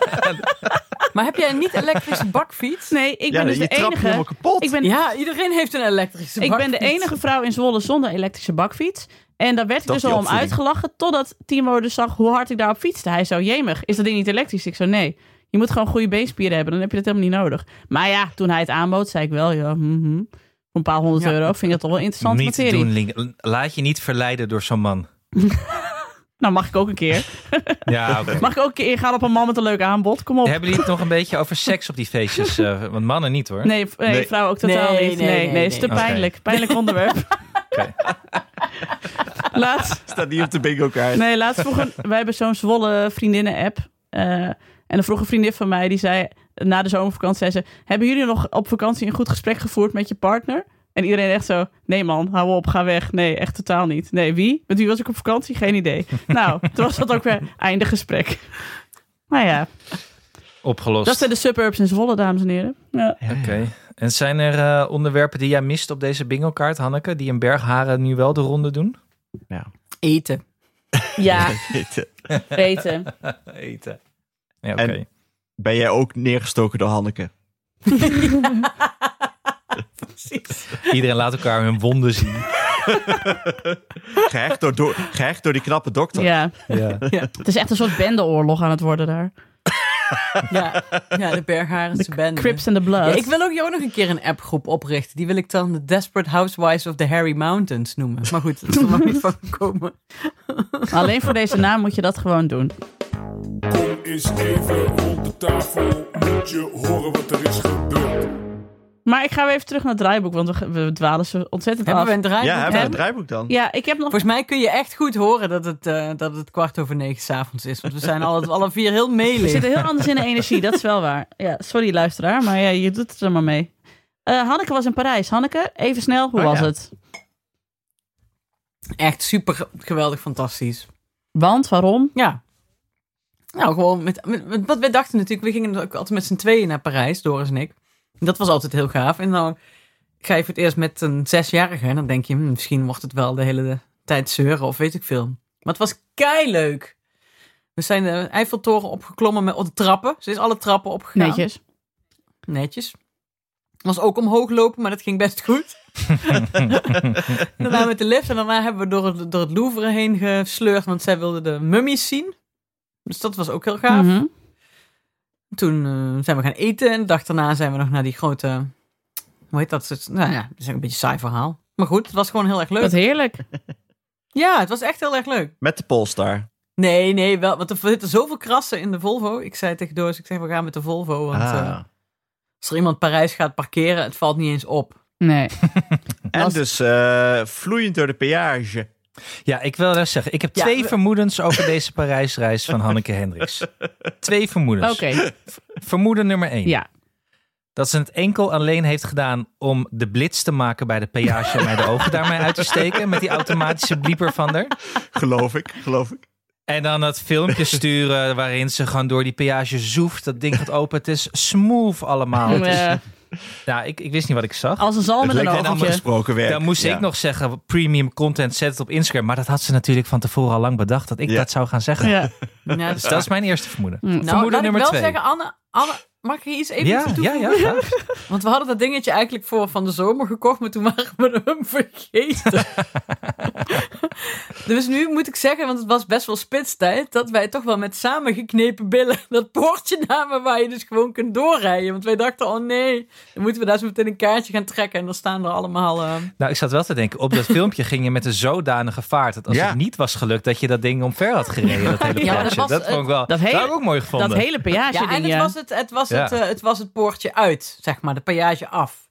Speaker 4: Maar heb jij een niet-elektrische bakfiets?
Speaker 3: nee, ik
Speaker 5: ja,
Speaker 3: ben dus
Speaker 5: je
Speaker 3: de
Speaker 5: trapt je helemaal
Speaker 3: enige...
Speaker 5: kapot.
Speaker 3: Ik ben,
Speaker 4: Ja, iedereen heeft een elektrische
Speaker 3: ik ben
Speaker 4: bakfiets.
Speaker 3: de enige vrouw in Zwolle zonder elektrische bakfiets. En daar werd ik
Speaker 5: Dat
Speaker 3: dus
Speaker 5: is
Speaker 3: al
Speaker 5: die
Speaker 3: om
Speaker 5: opvoeding.
Speaker 3: uitgelachen. Totdat Timo dus zag hoe hard ik daarop fietste. Hij zo, jemig, is dat ding niet elektrisch? Ik zo, nee. Je moet gewoon goede beenspieren hebben. Dan heb je dat helemaal niet nodig. Maar ja, toen hij het aanbood, zei ik wel, ja, mhm. voor een paar honderd
Speaker 4: Ja.
Speaker 3: euro. Vind ik dat toch wel interessante
Speaker 2: niet
Speaker 3: materie.
Speaker 2: doen, Link. Laat je niet verleiden door zo'n man.
Speaker 3: Nou, mag ik ook een keer.
Speaker 2: Ja, oké.
Speaker 3: Mag ik ook een keer gaan op een man met een leuk aanbod? Kom op.
Speaker 2: Hebben jullie het nog een beetje over seks op die feestjes? eh, want mannen niet hoor.
Speaker 3: Nee, v- nee,
Speaker 5: Nee.
Speaker 3: vrouw ook totaal
Speaker 4: Nee,
Speaker 3: niet. Nee,
Speaker 4: nee,
Speaker 3: nee,
Speaker 4: nee,
Speaker 3: is te
Speaker 2: nee.
Speaker 3: pijnlijk. Pijnlijk onderwerp.
Speaker 2: Oké.
Speaker 3: Laatst,
Speaker 5: Staat niet op de bingo kaart.
Speaker 3: Nee, laatst vroegen... Wij hebben zo'n Zwolle vriendinnen-app. eh, en dan vroeg een vriendin van mij, die zei... Na de zomervakantie zei ze... Hebben jullie nog op vakantie een goed gesprek gevoerd met je partner? En iedereen echt zo... Nee man, hou op, ga weg. Nee, echt totaal niet. Nee, wie? Met wie was ik op vakantie? Geen idee. Nou, toen was dat ook weer einde gesprek. Nou ja,
Speaker 2: Opgelost.
Speaker 3: dat zijn de suburbs in Zwolle, dames en heren. Ja.
Speaker 2: Oké. En zijn er eh, onderwerpen die jij mist op deze bingo-kaart, Hanneke, die in Bergharen nu wel de ronde doen?
Speaker 4: Eten.
Speaker 3: Ja,
Speaker 5: Dit,
Speaker 3: weten.
Speaker 2: Eten. Ja, oké.
Speaker 5: En- Ben jij ook neergestoken door Hanneke?
Speaker 4: Precies.
Speaker 2: Iedereen laat elkaar hun wonden zien.
Speaker 5: Gehecht door, door, gehecht door die knappe dokter.
Speaker 3: Ja,
Speaker 2: Ja.
Speaker 3: het is echt een soort bendeoorlog aan het worden daar.
Speaker 4: Ja, ja de Bergharense band.
Speaker 3: Crips and the Blood.
Speaker 4: Ja, ik wil ook jou nog een keer een appgroep oprichten. Die wil ik dan de Desperate Housewives of the Harry Mountains noemen. Maar goed, dat zal nog niet van komen.
Speaker 3: Alleen voor deze naam moet je dat gewoon doen.
Speaker 6: Kom eens even rond de tafel, moet je horen wat er is gebeurd.
Speaker 3: Maar ik ga weer even terug naar het draaiboek, want we, ge- we dwalen zo ontzettend
Speaker 4: Hebben
Speaker 3: af.
Speaker 4: we een draai?
Speaker 5: Ja, hebben we
Speaker 3: Hem?
Speaker 5: het draaiboek dan?
Speaker 3: Ja, ik heb nog...
Speaker 4: Volgens mij kun je echt goed horen dat het, eh, dat het kwart over negen s'avonds is. Want we zijn alle, alle vier heel
Speaker 3: We
Speaker 4: meelig.
Speaker 3: zitten heel anders in de energie, dat is wel waar. Ja, sorry luisteraar, maar ja, je doet het er maar mee. Eh, Hanneke was in Parijs. Hanneke, even snel, hoe
Speaker 5: Oh,
Speaker 3: was
Speaker 5: ja.
Speaker 3: het?
Speaker 4: Echt super geweldig fantastisch.
Speaker 3: Want, waarom?
Speaker 4: Ja. Nou, gewoon met, met, met- wat wij dachten natuurlijk. We gingen ook altijd met z'n tweeën naar Parijs, Doris en ik. En Dat was altijd heel gaaf. En dan ga je voor het eerst met een zesjarige. En dan denk je, hmm, misschien wordt het wel de hele tijd zeuren of weet ik veel. Maar het was kei leuk. We zijn de Eiffeltoren opgeklommen met op de trappen. Ze is alle trappen opgegaan.
Speaker 3: Netjes.
Speaker 4: Netjes. Was ook omhoog lopen, maar dat ging best goed. daarna met de lift en daarna hebben we door het, door het Louvre heen gesleurd, want zij wilden de mummies zien. Dus dat was ook heel gaaf.
Speaker 3: Mhm.
Speaker 4: Toen eh, zijn we gaan eten en de dag daarna zijn we nog naar die grote. Hoe heet dat? soort- Nou ja, dat is een beetje een saai verhaal. Maar goed, het was gewoon heel erg leuk.
Speaker 3: Wat heerlijk.
Speaker 4: Ja, het was echt heel erg leuk.
Speaker 5: Met de Polestar.
Speaker 4: Nee, nee, wel. Want er zitten zoveel krassen in de Volvo. Ik zei tegen Doris, ik zeg, we gaan met de Volvo. Want eh,
Speaker 5: Ah.
Speaker 4: als er iemand Parijs gaat parkeren, het valt niet eens op.
Speaker 3: Nee.
Speaker 5: En
Speaker 3: Als-
Speaker 5: dus eh, vloeiend door de peage.
Speaker 2: ja, ik wil wel zeggen, ik heb
Speaker 4: Ja,
Speaker 2: twee
Speaker 4: we-
Speaker 2: vermoedens over deze Parijsreis van Hanneke Hendricks. Twee vermoedens.
Speaker 3: Oké,
Speaker 2: Vermoeden nummer één.
Speaker 3: ja.
Speaker 2: Dat ze het enkel alleen heeft gedaan om de blits te maken bij de peage en mij de ogen daarmee uit te steken. Met die automatische blieper van haar.
Speaker 5: Geloof ik, geloof ik.
Speaker 2: En dan dat filmpje sturen waarin ze gewoon door die peage zoeft. Dat ding gaat open. Het is smooth allemaal. Oh, Het is-
Speaker 3: Eh,
Speaker 2: nou, ik, ik wist niet wat ik zag.
Speaker 3: als een zalm
Speaker 5: Het
Speaker 3: in een
Speaker 5: lijkt net
Speaker 3: oogje.
Speaker 5: afgesproken werk.
Speaker 2: Dan moest
Speaker 5: Ja.
Speaker 2: ik nog zeggen, premium content, zet het op Instagram. Maar dat had ze natuurlijk van tevoren al lang bedacht dat ik
Speaker 5: Ja.
Speaker 2: dat zou gaan zeggen.
Speaker 3: Ja.
Speaker 4: Ja,
Speaker 2: Dus dat is mijn eerste vermoeden.
Speaker 3: Hm.
Speaker 4: nou, laat ik
Speaker 2: nummer
Speaker 4: wel
Speaker 2: twee.
Speaker 4: zeggen, Anne, Anne, mag ik hier iets even
Speaker 2: ja,
Speaker 4: iets
Speaker 2: ja,
Speaker 4: toevoegen?
Speaker 2: ja, ja.
Speaker 4: Want we hadden dat dingetje eigenlijk voor van de zomer gekocht, maar toen waren we hem vergeten. dus nu moet ik zeggen, want het was best wel spitstijd, dat wij toch wel met samengeknepen billen dat poortje namen waar je dus gewoon kunt doorrijden. Want wij dachten, oh nee, dan moeten we daar zo meteen een kaartje gaan trekken en dan staan er allemaal... eh,
Speaker 2: Nou, ik zat wel te denken, op dat filmpje ging je met een zodanige vaart dat als
Speaker 5: Ja.
Speaker 2: het niet was gelukt, dat je dat ding omver had gereden. Dat hele
Speaker 4: Ja, maar
Speaker 2: plaatje.
Speaker 4: dat
Speaker 2: dat,
Speaker 4: was
Speaker 2: vond ik wel,
Speaker 3: dat
Speaker 2: dat,
Speaker 3: hele-
Speaker 2: heb ik ook mooi gevonden.
Speaker 3: Dat hele peage
Speaker 4: ja, en
Speaker 3: ding,
Speaker 4: het
Speaker 3: ja.
Speaker 4: was, het, het, was
Speaker 2: Ja.
Speaker 4: het, eh, het was het poortje uit, zeg maar, de peage af.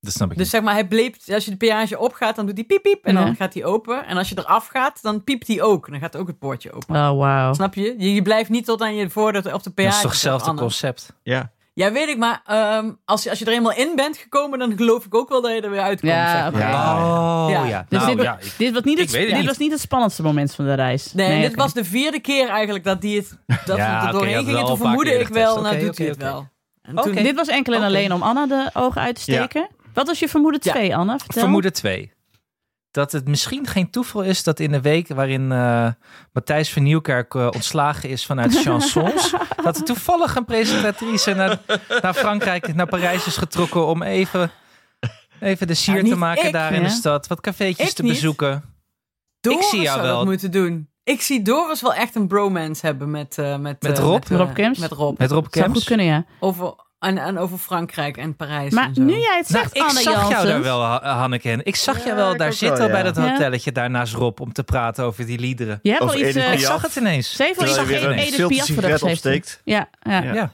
Speaker 2: Dat snap ik
Speaker 4: Dus zeg maar, hij bleef, als je de peage opgaat, dan doet hij piep piep en
Speaker 3: Ja.
Speaker 2: Mhm.
Speaker 4: dan gaat hij open. En als je eraf gaat, dan piept hij ook. Dan gaat ook het poortje open.
Speaker 3: Oh, wauw.
Speaker 4: Snap je? je? je blijft niet tot aan je voordeur op de PA.
Speaker 2: niet. Nou. Dat is toch hetzelfde concept.
Speaker 5: Ja.
Speaker 4: Ja, weet ik, maar ehm, als, je, als je er eenmaal in bent gekomen, dan geloof ik ook wel dat je er weer uitkomt.
Speaker 3: Ja,
Speaker 4: zeg maar.
Speaker 3: oké.
Speaker 5: Ja.
Speaker 2: Oh,
Speaker 4: Ja.
Speaker 2: ja.
Speaker 3: Dus
Speaker 2: nou,
Speaker 3: dit,
Speaker 2: ja, ik-
Speaker 3: dit, was niet het,
Speaker 2: weet het
Speaker 3: dit
Speaker 2: niet.
Speaker 3: was niet het spannendste moment van de reis.
Speaker 4: Nee, dit
Speaker 3: oké.
Speaker 4: was de vierde keer eigenlijk dat die het
Speaker 2: Ja,
Speaker 4: dat we er
Speaker 2: oké, je
Speaker 4: doorheen
Speaker 2: had het
Speaker 4: gingen.
Speaker 2: al
Speaker 4: Toen
Speaker 2: een paar
Speaker 4: vermoedde
Speaker 2: keer
Speaker 4: ik wel,
Speaker 2: getest.
Speaker 4: nou
Speaker 2: Oké,
Speaker 4: doet hij
Speaker 2: oké,
Speaker 4: het
Speaker 2: oké.
Speaker 4: wel. En
Speaker 2: Oké.
Speaker 4: toen,
Speaker 3: Dit was enkel en
Speaker 4: Oké.
Speaker 3: alleen om Anna de ogen uit te
Speaker 5: Ja.
Speaker 3: steken. Wat was je vermoeden
Speaker 4: Ja.
Speaker 3: twee, Anna? Vertel.
Speaker 2: Vermoeden 2. Dat het misschien geen toeval is dat in de week waarin eh, Matthijs van Nieuwkerk eh, ontslagen is vanuit Chansons, dat er toevallig een presentatrice naar, naar Frankrijk, naar Parijs is getrokken om even, even de sier
Speaker 4: Ja,
Speaker 2: te
Speaker 4: niet
Speaker 2: maken
Speaker 4: ik,
Speaker 2: daar in
Speaker 3: hè?
Speaker 2: de stad. Wat cafeetjes
Speaker 4: Ik
Speaker 2: te
Speaker 4: niet.
Speaker 2: bezoeken.
Speaker 4: Doris
Speaker 2: Ik zie jou
Speaker 4: zou
Speaker 2: wel.
Speaker 4: dat moeten doen. Ik zie Doris wel echt een bromance hebben met... eh, met,
Speaker 2: Met
Speaker 4: eh,
Speaker 2: Rob?
Speaker 4: eh,
Speaker 3: Rob Kemps?
Speaker 4: Met Rob.
Speaker 2: Met Rob
Speaker 3: Zou goed
Speaker 2: Kemps.
Speaker 3: kunnen, ja.
Speaker 4: Over, en, en over Frankrijk en Parijs
Speaker 3: Maar
Speaker 4: en zo.
Speaker 3: nu jij het
Speaker 2: Nou,
Speaker 3: zegt,
Speaker 2: ik
Speaker 3: Anne
Speaker 2: zag jou
Speaker 3: Janssens,
Speaker 2: daar wel, Ha- Hanneke. En ik zag
Speaker 5: Ja,
Speaker 2: jou wel
Speaker 5: ik
Speaker 2: daar
Speaker 5: ook
Speaker 2: zitten
Speaker 5: wel, ja.
Speaker 2: bij dat
Speaker 3: Ja.
Speaker 2: hotelletje daar naast Rob om te praten over die liederen.
Speaker 3: Je hebt
Speaker 5: Of
Speaker 3: wel iets...
Speaker 5: Edith
Speaker 3: eh,
Speaker 2: Ik
Speaker 5: Piaf.
Speaker 2: zag het ineens.
Speaker 3: Ze heeft wel
Speaker 2: Ik
Speaker 3: iets
Speaker 5: Terwijl
Speaker 2: zag
Speaker 5: je weer
Speaker 2: het
Speaker 3: tegen
Speaker 5: een
Speaker 2: ineens.
Speaker 3: Edith
Speaker 5: filter
Speaker 3: Piaf voor de
Speaker 5: sigaret
Speaker 3: rest
Speaker 5: opsteekt.
Speaker 3: Ja, ja.
Speaker 5: Ja.
Speaker 2: Ja.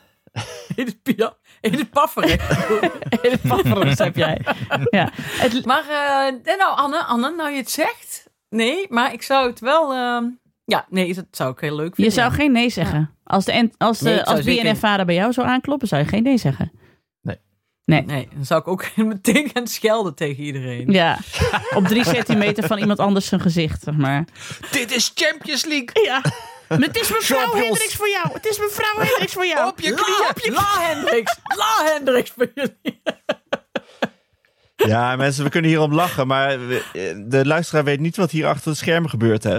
Speaker 4: Edith Pia- Edith Pafferik.
Speaker 3: Edith Piaf voor de rest heb jij. Ja. Het,
Speaker 4: Maar, eh, nee, nou, Anne, Anne, nou je het zegt. Nee, maar ik zou het wel. ehm, ja, nee, dat zou ik heel leuk vinden.
Speaker 3: je zou
Speaker 4: ja.
Speaker 3: geen nee zeggen. Als, de, en- als, de,
Speaker 4: Nee, ik zou
Speaker 3: als
Speaker 4: zeker niet.
Speaker 3: BNF-vader bij jou zou aankloppen, zou je geen nee zeggen.
Speaker 4: Nee, dan zou ik ook meteen gaan schelden tegen iedereen.
Speaker 3: Ja, op drie centimeter van iemand anders zijn gezicht, zeg maar.
Speaker 2: Dit is Champions League.
Speaker 3: Ja. Maar het is mevrouw
Speaker 5: Champions.
Speaker 3: Hendricks voor jou. Het is mevrouw Hendricks voor jou.
Speaker 2: Op je
Speaker 4: La,
Speaker 2: knieën.
Speaker 4: La Hendricks, La Hendricks voor jullie.
Speaker 5: Ja, mensen, we kunnen hierom lachen, maar we- eh, de luisteraar weet niet wat hier achter het scherm gebeurt, hè?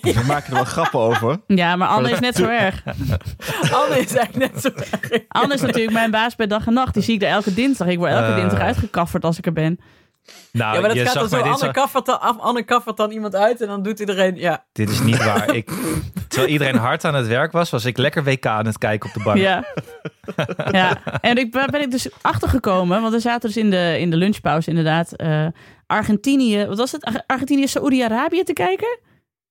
Speaker 5: We maken er wel grappen over.
Speaker 3: Ja, maar Anne is net zo erg.
Speaker 4: Anne is echt net zo erg.
Speaker 3: Anne is natuurlijk mijn baas bij dag en nacht. Die zie ik daar elke dinsdag. Ik word elke
Speaker 2: Eh.
Speaker 3: dinsdag uitgekafferd als ik er ben.
Speaker 2: Nou,
Speaker 4: Ja, maar dat
Speaker 2: je
Speaker 4: gaat
Speaker 2: zag
Speaker 3: dus
Speaker 4: dan zo.
Speaker 2: mij dit
Speaker 4: Anne
Speaker 2: zo-
Speaker 4: kaffert dan, af- Anne kaffert dan iemand uit en dan doet iedereen. Ja,
Speaker 2: Dit is niet waar. Ik, terwijl iedereen hard aan het werk was, was ik lekker WK aan het kijken op de bank.
Speaker 3: Ja. ja. En ik ben, ben ik dus achtergekomen, want we zaten dus in de, in de lunchpauze inderdaad. eh, Argentinië, wat was het? Ar- Argentinië, Saoedi-Arabië te kijken?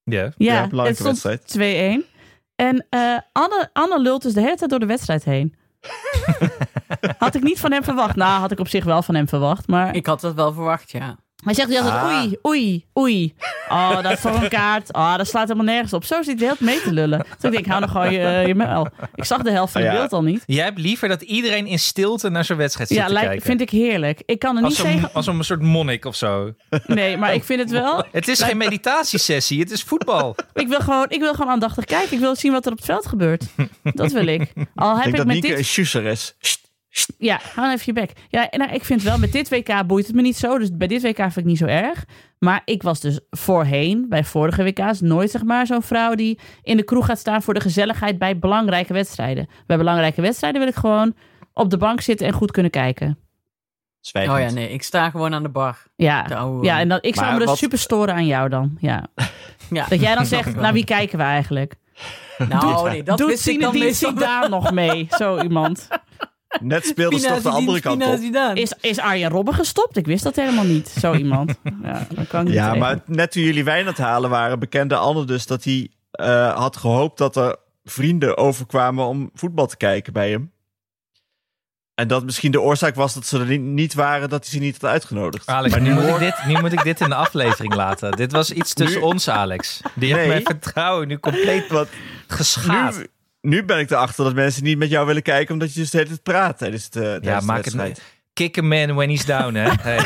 Speaker 2: Ja.
Speaker 3: Ja,
Speaker 5: Ja, belangrijke
Speaker 3: het stond 2-1. En eh, Anne, Anne lult dus de hele tijd door de wedstrijd heen. had ik niet van hem verwacht. Nou, had ik op zich wel van hem verwacht. Maar
Speaker 4: ik had dat wel verwacht, ja.
Speaker 3: hij zegt altijd
Speaker 5: Ah.
Speaker 3: oei, oei, oei. Oh, dat is voor een kaart. Oh, dat slaat helemaal nergens op. Zo zit hij heel mee te lullen. Toen ik denk, hou nog gewoon je, eh, je muil. Ik zag de helft van het
Speaker 5: Ja.
Speaker 3: beeld al niet.
Speaker 2: Jij hebt liever dat iedereen in stilte naar zo'n wedstrijd zit
Speaker 3: Ja,
Speaker 2: te
Speaker 3: lijkt-
Speaker 2: kijken.
Speaker 3: vind ik heerlijk. Ik kan er niet
Speaker 2: als, een,
Speaker 3: tegen.
Speaker 2: als een soort monnik of zo.
Speaker 3: Nee, maar ik vind het wel.
Speaker 2: Het is geen meditatiesessie, het is voetbal.
Speaker 3: Ik wil, gewoon, ik wil gewoon aandachtig kijken. Ik wil zien wat er op het veld gebeurt. Dat wil ik. Al heb
Speaker 5: Ik denk
Speaker 3: ik
Speaker 5: dat
Speaker 3: met
Speaker 5: Nieke een
Speaker 3: dit.
Speaker 5: schusser is. Sst,
Speaker 3: Ja, hou nou even je bek. Ja, en nou, ik vind wel, met dit WK boeit het me niet zo. Dus bij dit WK vind ik niet zo erg. Maar ik was dus voorheen, bij vorige WK's, nooit zeg maar zo'n vrouw die in de kroeg gaat staan voor de gezelligheid bij belangrijke wedstrijden. Bij belangrijke wedstrijden wil ik gewoon op de bank zitten en goed kunnen kijken.
Speaker 5: zwijgend.
Speaker 4: Oh ja, nee, ik sta gewoon aan de bar. De
Speaker 3: Ja,
Speaker 4: oude-
Speaker 3: ja en dan, ik zou
Speaker 5: Maar
Speaker 3: me dus
Speaker 5: wat-
Speaker 3: super storen aan jou dan. Ja.
Speaker 4: Ja.
Speaker 3: Dat jij dan zegt, naar wie kijken we eigenlijk?
Speaker 4: Nou, nee, dat
Speaker 3: Doet
Speaker 4: wist ik dan
Speaker 3: Zinedine
Speaker 4: meestal.
Speaker 3: Zidane nog mee? Zo iemand.
Speaker 5: Net speelde ze toch de andere kant op.
Speaker 3: Is, is Arjen Robben gestopt? Ik wist dat helemaal niet. Zo iemand. Ja, dat kan ik niet
Speaker 5: Ja,
Speaker 3: tegen.
Speaker 5: maar net toen jullie wijn aan het halen waren, bekende Anne dus dat hij eh, had gehoopt dat er vrienden overkwamen om voetbal te kijken bij hem. En dat misschien de oorzaak was dat ze er niet, niet waren, dat hij ze niet had uitgenodigd.
Speaker 2: Alex,
Speaker 5: maar
Speaker 2: nu moet, ik
Speaker 5: hoor-
Speaker 2: dit, nu moet ik dit in de aflevering laten. Dit was iets tussen
Speaker 5: Nu-
Speaker 2: ons, Alex. Die
Speaker 5: Nee.
Speaker 2: heeft mijn vertrouwen nu compleet
Speaker 5: Want
Speaker 2: geschaad.
Speaker 5: nu, nu ben ik erachter dat mensen niet met jou willen kijken, omdat je dus de hele tijd praat tijdens de, tijdens
Speaker 2: ja,
Speaker 5: de
Speaker 2: maak het
Speaker 5: wedstrijd.
Speaker 2: niet. Kick a man when he's down, hè. Hey.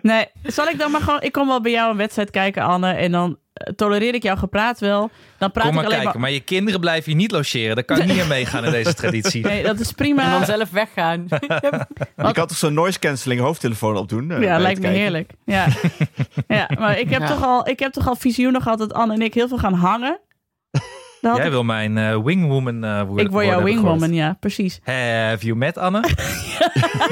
Speaker 3: Nee, zal ik dan maar gewoon... Ik kom wel bij jou een wedstrijd kijken, Anne. En dan eh, tolereer ik jouw gepraat wel. Dan praat
Speaker 2: Kom
Speaker 3: ik
Speaker 2: maar
Speaker 3: alleen
Speaker 2: kijken, maar... je kinderen blijven hier niet logeren. Daar kan ik niet aan meegaan in deze traditie.
Speaker 3: maar... Nee, dat is prima.
Speaker 4: En dan zelf weggaan.
Speaker 5: Je kan toch zo'n noise cancelling hoofdtelefoon opdoen? eh, bij
Speaker 3: Ja,
Speaker 5: het
Speaker 3: lijkt me
Speaker 5: kijken?
Speaker 3: heerlijk. Ja. ja, maar ik heb,
Speaker 4: Ja.
Speaker 3: Toch al, ik heb toch al visioenen gehad dat Anne en ik heel veel gaan hangen. Dan had
Speaker 2: Jij
Speaker 3: ik,
Speaker 2: wil mijn eh, wingwoman eh worden.
Speaker 3: ik word jouw
Speaker 2: worden, heb ik
Speaker 3: wingwoman, ja, precies.
Speaker 2: gehoord. Have you met Anne?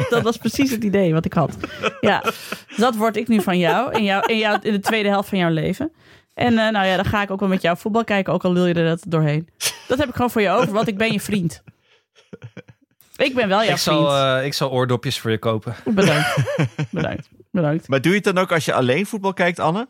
Speaker 3: Dat was precies het idee wat ik had. Ja, Dus dat word ik nu van jou in, jou, in, jou, in de tweede helft van jouw leven. En eh, nou ja, dan ga ik ook wel met jou voetbal kijken, ook al wil je er dat doorheen. Dat heb ik gewoon voor je over, want ik ben je vriend. Ik ben wel jouw
Speaker 2: ik, zal,
Speaker 3: vriend.
Speaker 2: eh, ik zal oordopjes voor je kopen.
Speaker 3: Bedankt. Bedankt. Bedankt.
Speaker 5: Maar doe je het dan ook als je alleen voetbal kijkt, Anne?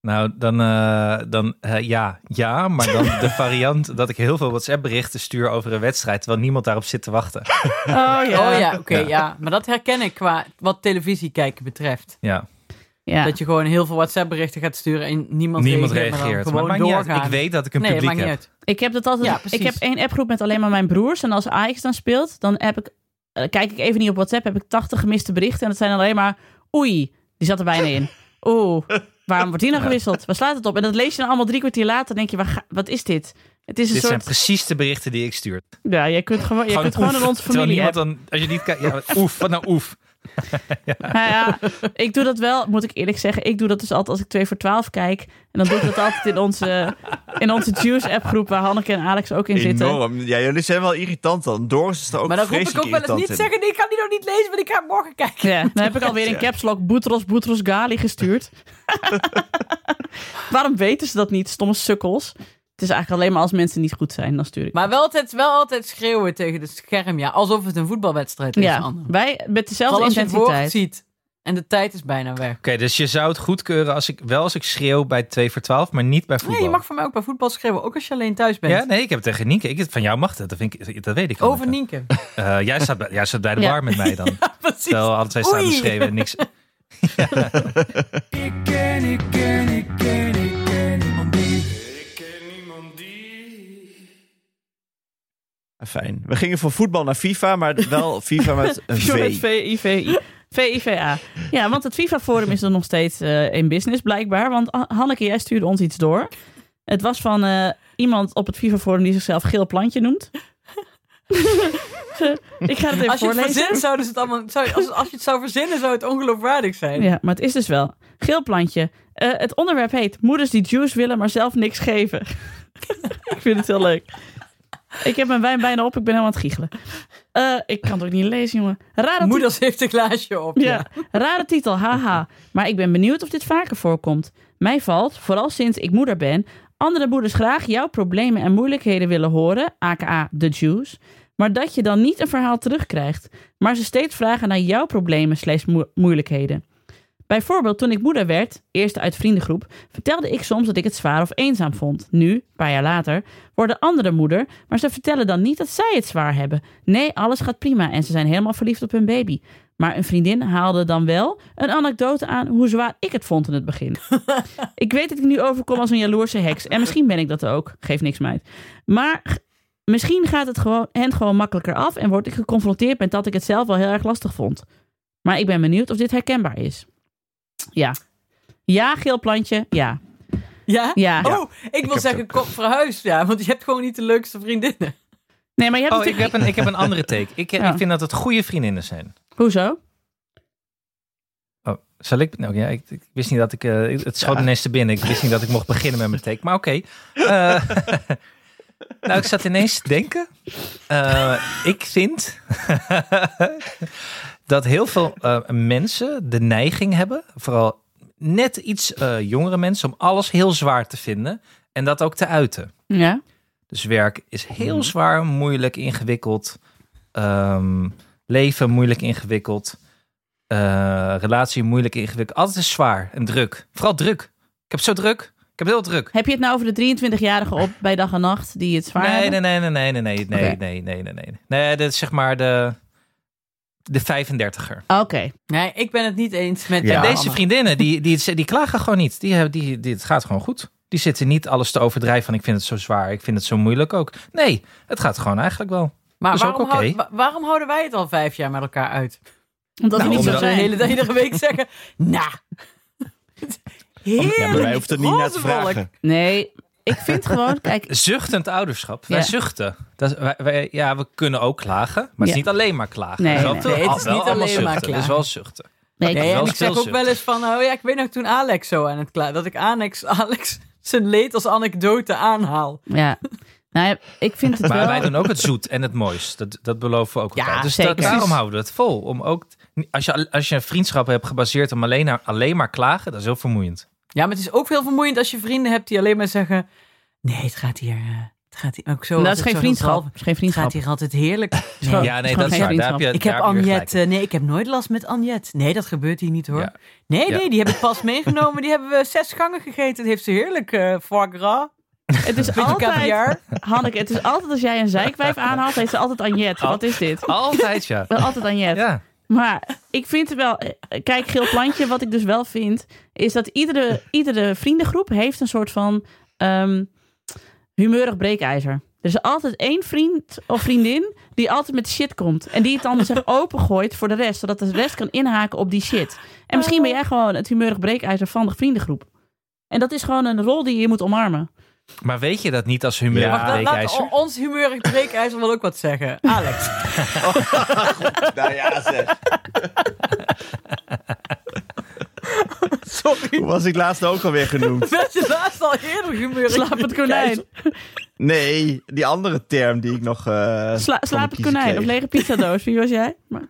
Speaker 2: Nou, dan, eh, dan eh, ja, ja, maar dan de variant dat ik heel veel WhatsApp-berichten stuur over een wedstrijd, terwijl niemand daarop zit te wachten.
Speaker 3: Oh ja.
Speaker 4: Oh ja, oké, ja. Maar dat herken ik qua wat televisie kijken betreft.
Speaker 2: Ja,
Speaker 3: Ja.
Speaker 4: Dat je gewoon heel veel WhatsApp-berichten gaat sturen en niemand,
Speaker 2: niemand
Speaker 4: maar dan
Speaker 2: reageert. Maar het
Speaker 4: gewoon
Speaker 2: maakt niet uit.
Speaker 4: doorgaan.
Speaker 2: Ik weet dat ik een
Speaker 4: nee,
Speaker 2: publiek
Speaker 4: maakt niet
Speaker 2: heb.
Speaker 4: uit.
Speaker 3: Ik heb dat altijd.
Speaker 4: Ja, precies.
Speaker 3: ik heb één appgroep met alleen maar mijn broers. En als Ajax dan speelt, dan heb ik, eh, kijk ik even niet op WhatsApp. Heb ik 80 gemiste berichten. En dat zijn alleen maar. Oei, die zat er bijna in. Oeh, waarom wordt die nou gewisseld? Waar slaat het op? En dat lees je dan allemaal drie kwartier later. Dan denk je, waar ga- wat is dit? Het is een
Speaker 2: Dit zijn
Speaker 3: soort.
Speaker 2: precies de berichten die ik stuur.
Speaker 3: Ja, je kunt gewoon, je kunt
Speaker 2: oef,
Speaker 3: gewoon een onze
Speaker 2: terwijl
Speaker 3: familie
Speaker 2: niemand
Speaker 3: app.
Speaker 2: dan, als je niet kijkt, ja, wat- oef, wat nou oef?
Speaker 3: Nou ja, ik doe dat wel, moet ik eerlijk zeggen. Ik doe dat dus altijd als ik 2 voor 12 kijk. En dan doe ik dat altijd in onze, in onze Juice appgroep, waar Hanneke en Alex ook in zitten.
Speaker 5: Enorm. Ja, jullie zijn wel irritant dan. Doris is er ook
Speaker 4: Maar dan roep ik
Speaker 5: vreselijk
Speaker 4: ook wel eens
Speaker 5: irritant
Speaker 4: niet
Speaker 5: in.
Speaker 4: zeggen, nee, ik kan die nog niet lezen, want ik ga morgen kijken.
Speaker 3: Ja, dan heb ik alweer in caps lock Boetros, Boetros, Gali gestuurd. Waarom weten ze dat niet? Stomme sukkels. Het is eigenlijk alleen maar als mensen niet goed zijn, dan stuur ik.
Speaker 4: Maar wel altijd, wel altijd schreeuwen tegen het scherm, ja. Alsof het een voetbalwedstrijd is,
Speaker 3: ja,
Speaker 4: Anne.
Speaker 3: wij met dezelfde
Speaker 4: Vooral als je het woord
Speaker 3: intensiteit.
Speaker 4: ziet. En de tijd is bijna weg.
Speaker 2: Oké, dus je zou het goedkeuren als ik, wel als ik schreeuw bij 2 voor 12, maar niet bij voetbal.
Speaker 4: Nee, je mag voor mij ook bij voetbal schreeuwen, ook als je alleen thuis bent.
Speaker 2: Ja, nee, ik heb het tegen Nienke. Ik, van jou mag dat, dat, vind ik, dat weet ik.
Speaker 4: Over
Speaker 2: Nienke.
Speaker 4: Nienke.
Speaker 2: Eh, jij, staat bij, jij staat bij de
Speaker 3: Ja.
Speaker 2: bar met mij dan.
Speaker 4: Precies.
Speaker 2: Terwijl we alle twee staan te
Speaker 4: Oei.
Speaker 2: schreeuwen en niks.
Speaker 6: Ik ken, ik ken, ik ken, ik ken niemand die. Ik ken niemand die.
Speaker 5: Ah, Fijn. We gingen van voetbal naar FIFA, maar wel FIFA met een
Speaker 3: Sorry,
Speaker 5: V.
Speaker 3: VIVI. VIVA. Ja, want het FIFA-forum is er nog steeds eh, in business blijkbaar. Want Ha- Hanneke, jij stuurde ons iets door. Het was van eh, iemand op het FIFA-forum die zichzelf Geel Plantje noemt. ik ga het even
Speaker 4: Als je het
Speaker 3: voorlezen.
Speaker 4: verzint, zouden ze het allemaal... Zou, als, als je het zou verzinnen, zou het ongeloofwaardig zijn.
Speaker 3: Ja, maar het is dus wel. Geel plantje. Eh, het onderwerp heet Moeders die juice willen, maar zelf niks geven. ik vind het heel leuk. Ik heb mijn wijn bijna op, ik ben helemaal aan het giechelen. Eh, ik kan het ook niet lezen, jongen. Rare titel.
Speaker 4: Moeders heeft een glaasje op.
Speaker 3: Ja, rare titel, haha. Maar ik ben benieuwd of dit vaker voorkomt. Mij valt, vooral sinds ik moeder ben, andere moeders graag jouw problemen en moeilijkheden willen horen, aka de juice. Maar dat je dan niet een verhaal terugkrijgt, maar ze steeds vragen naar jouw problemen slechts moe- moeilijkheden. Bijvoorbeeld toen ik moeder werd, eerst uit vriendengroep, vertelde ik soms dat ik het zwaar of eenzaam vond. Nu, een paar jaar later, worden andere moeder, maar ze vertellen dan niet dat zij het zwaar hebben. Nee, alles gaat prima en ze zijn helemaal verliefd op hun baby. Maar een vriendin haalde dan wel een anekdote aan hoe zwaar ik het vond in het begin. ik weet dat ik nu overkom als een jaloerse heks en misschien ben ik dat ook, geef niks meid. Maar g- misschien gaat het gewoon, hen gewoon makkelijker af en word ik geconfronteerd met dat ik het zelf wel heel erg lastig vond. Maar ik ben benieuwd of dit herkenbaar is. Ja. Ja, geel plantje. Ja.
Speaker 4: Ja?
Speaker 3: Ja.
Speaker 4: Oh, ik, wil
Speaker 2: heb
Speaker 4: zeggen,
Speaker 2: het
Speaker 4: kom verhuis. Ja, want je hebt gewoon niet de leukste vriendinnen.
Speaker 3: Nee, maar je hebt
Speaker 2: Oh, ik
Speaker 3: natuurlijk...
Speaker 2: heb een, ik heb een andere take. Ik, eh,
Speaker 3: Ja.
Speaker 2: ik vind dat het goede vriendinnen zijn.
Speaker 3: Hoezo?
Speaker 2: Oh, zal ik? Nou ja, ik, ik wist niet dat ik. eh, het schoot me ineens te binnen. Ik wist niet dat ik mocht beginnen met mijn take. Maar oké. Eh, nou, ik zat ineens te denken. Eh, ik vind dat heel veel eh, mensen de neiging hebben, vooral net iets eh, jongere mensen, om alles heel zwaar te vinden en dat ook te uiten.
Speaker 3: Ja.
Speaker 2: Dus werk is
Speaker 3: Mhm.
Speaker 2: heel zwaar, moeilijk, ingewikkeld. Ehm, leven moeilijk, ingewikkeld. Eh, relatie moeilijk, ingewikkeld. Altijd is zwaar en druk. Vooral druk. Ik heb zo druk. Ik heb heel druk.
Speaker 3: Heb je het nou over de 23-jarige op bij dag en nacht die het zwaar
Speaker 2: Nee,
Speaker 3: hebben?
Speaker 2: nee, nee, nee, nee, nee, nee, nee,
Speaker 3: Oké.
Speaker 2: nee, nee, nee, nee. Nee, dat is zeg maar de, de 35er.
Speaker 3: Oké.
Speaker 4: Nee, ik ben het niet eens met
Speaker 2: en
Speaker 4: jou,
Speaker 2: deze
Speaker 4: Anne.
Speaker 2: vriendinnen, die, die, die, klagen gewoon niet. Die, hebben- die, die, het gaat gewoon goed. Die zitten niet alles te overdrijven van ik vind het zo zwaar, ik vind het zo moeilijk ook. Nee, het gaat gewoon eigenlijk wel.
Speaker 4: Maar
Speaker 2: is ook
Speaker 4: waarom,
Speaker 2: oké.
Speaker 4: hou- wa- waarom houden wij het al vijf jaar met elkaar uit?
Speaker 3: Omdat
Speaker 2: Nou,
Speaker 3: die niet zo
Speaker 2: omdat-
Speaker 4: de
Speaker 3: zijn.
Speaker 4: hele dag, iedere week zeggen, nou.
Speaker 5: Ja, maar wij hoeven er niet naar te
Speaker 4: roze wolk.
Speaker 5: vragen.
Speaker 3: Nee, ik vind gewoon, kijk,
Speaker 2: Zuchtend ouderschap. Wij
Speaker 3: Ja.
Speaker 2: zuchten. Dat, is- wij, wij- ja, we kunnen ook klagen, maar het
Speaker 3: Ja.
Speaker 2: is niet alleen maar klagen.
Speaker 3: Nee,
Speaker 2: Er wel
Speaker 3: nee.
Speaker 2: veel-
Speaker 4: Nee, het is
Speaker 2: wel
Speaker 4: niet
Speaker 2: allemaal
Speaker 4: alleen maar
Speaker 2: zuchten. Er is
Speaker 4: klagen.
Speaker 2: wel zuchten.
Speaker 3: nee,
Speaker 4: Nee,
Speaker 2: wel
Speaker 4: en ik zeg ook
Speaker 2: stilzitten.
Speaker 4: wel eens van, oh ja, ik weet nog toen Alex zo aan het klaar, dat ik Alex, Alex zijn leed als anekdote aanhaal.
Speaker 3: ja. Nou, ja, ik vind het
Speaker 2: Maar
Speaker 3: wel...
Speaker 2: wij doen ook het zoet en het mooist. Dat, dat beloven we ook
Speaker 4: Ja,
Speaker 2: elkaar. Dus
Speaker 3: zeker.
Speaker 2: dat, daarom houden we het vol. Om ook, als, je, als je een vriendschap hebt gebaseerd om alleen, naar, alleen maar klagen, dat is heel vermoeiend.
Speaker 4: Ja, maar het is ook heel vermoeiend als je vrienden hebt die alleen maar zeggen, nee, het gaat hier, eh, het gaat hier ook zo.
Speaker 3: Nou, dat is
Speaker 4: altijd zo
Speaker 3: geen
Speaker 4: vanzelf.
Speaker 3: vriendschap. Dat is geen
Speaker 4: Het
Speaker 3: vriendschap.
Speaker 4: gaat hier altijd heerlijk.
Speaker 3: gewoon-
Speaker 2: ja, nee,
Speaker 3: gewoon
Speaker 2: dat is
Speaker 3: geen
Speaker 2: waar. Daar heb je,
Speaker 4: Ik heb
Speaker 2: daar heb je gelijk
Speaker 4: Anjet,
Speaker 2: in.
Speaker 4: eh, nee, ik heb nooit last met Anjet. Nee, dat gebeurt hier niet hoor.
Speaker 2: Ja.
Speaker 4: Nee,
Speaker 2: Ja.
Speaker 4: nee, die heb ik pas meegenomen. Die hebben we zes gangen gegeten. Dat heeft ze heerlijk eh foie gras.
Speaker 3: Het is
Speaker 4: Beetje
Speaker 3: altijd,
Speaker 4: caviar.
Speaker 3: Hanneke, het is altijd als jij een zeikwijf aanhaalt, heeft ze altijd Anjet. Wat is dit?
Speaker 2: Altijd, ja.
Speaker 3: Wel altijd Anjet.
Speaker 2: ja.
Speaker 3: Maar ik vind wel, eh, kijk, Geel Plantje, wat ik dus wel vind, is dat iedere, iedere vriendengroep heeft een soort van ehm, humeurig breekijzer. Er is altijd één vriend of vriendin die altijd met shit komt. En die het dan zich opengooit voor de rest, zodat de rest kan inhaken op die shit. En misschien ben jij gewoon het humeurig breekijzer van de vriendengroep. En dat is gewoon een rol die je moet omarmen.
Speaker 2: Maar weet je dat niet als humeur?
Speaker 5: Ja.
Speaker 2: Ja.
Speaker 4: Laat- Laat on- ons humeurig breekijzer wil ook wat zeggen. Alex.
Speaker 5: Nou ja, zeg.
Speaker 4: Sorry.
Speaker 5: Hoe was ik laatst ook alweer genoemd?
Speaker 4: Werd je laatst al eerder humeurig?
Speaker 3: Slaap het konijn.
Speaker 5: Nee, die andere term die ik nog.
Speaker 3: Sla,
Speaker 5: eh, van
Speaker 3: slaap
Speaker 5: de
Speaker 3: het
Speaker 5: kiezer
Speaker 3: konijn.
Speaker 5: kreeg.
Speaker 3: Of lege pizzadoos. Wie was jij? Maar,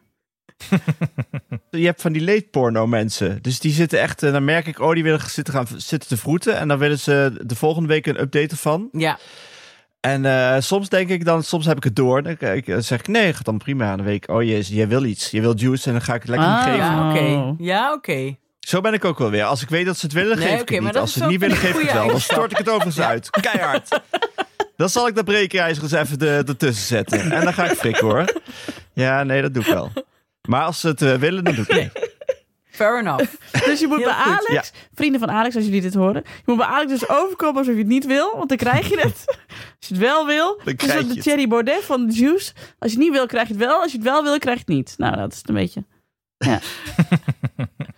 Speaker 5: Je hebt van die leedporno mensen. Dus die zitten echt. eh, Dan merk ik, oh, die willen zitten, gaan, zitten te vroeten. En dan willen ze de volgende week een update ervan.
Speaker 4: Ja.
Speaker 5: En eh, soms denk ik dan, soms heb ik het door. Dan kijk- dan zeg ik, nee, gaat dan prima. En dan weet ik, oh jezus, jij wil iets. Je wil juice en dan ga ik het lekker niet
Speaker 3: Ah.
Speaker 5: geven.
Speaker 4: Ja, oké.
Speaker 3: Oh.
Speaker 4: Ja, oké.
Speaker 5: Zo ben ik ook wel weer. Als ik weet dat ze het willen,
Speaker 4: Nee,
Speaker 5: geef ik
Speaker 4: oké,
Speaker 5: het niet.
Speaker 4: maar dat
Speaker 5: Als
Speaker 4: is
Speaker 5: ze het
Speaker 4: wel
Speaker 5: niet willen,
Speaker 4: een
Speaker 5: geef ik het
Speaker 4: goede
Speaker 5: wel. Dan stort ik het overigens uit. Keihard. Dan zal ik dat breekijzer eens even de, ertussen zetten. En dan ga ik frikken hoor. Ja, nee, dat doe ik wel. Maar als ze het eh, willen, dan doe ik het niet.
Speaker 4: Fair enough.
Speaker 3: Dus je moet
Speaker 4: Heel
Speaker 3: bij
Speaker 4: goed,
Speaker 3: Alex, vrienden van Alex, als jullie dit horen, je moet bij Alex dus overkomen alsof je het niet wil, want dan krijg je het. Als je het wel wil,
Speaker 5: Dan
Speaker 3: dus
Speaker 5: krijg
Speaker 3: de
Speaker 5: je het.
Speaker 3: Thierry Baudet van de Juice. Als je het niet wil, krijg je het wel. Als je het wel wil, krijg je het niet. Nou, dat is het een beetje. Ja.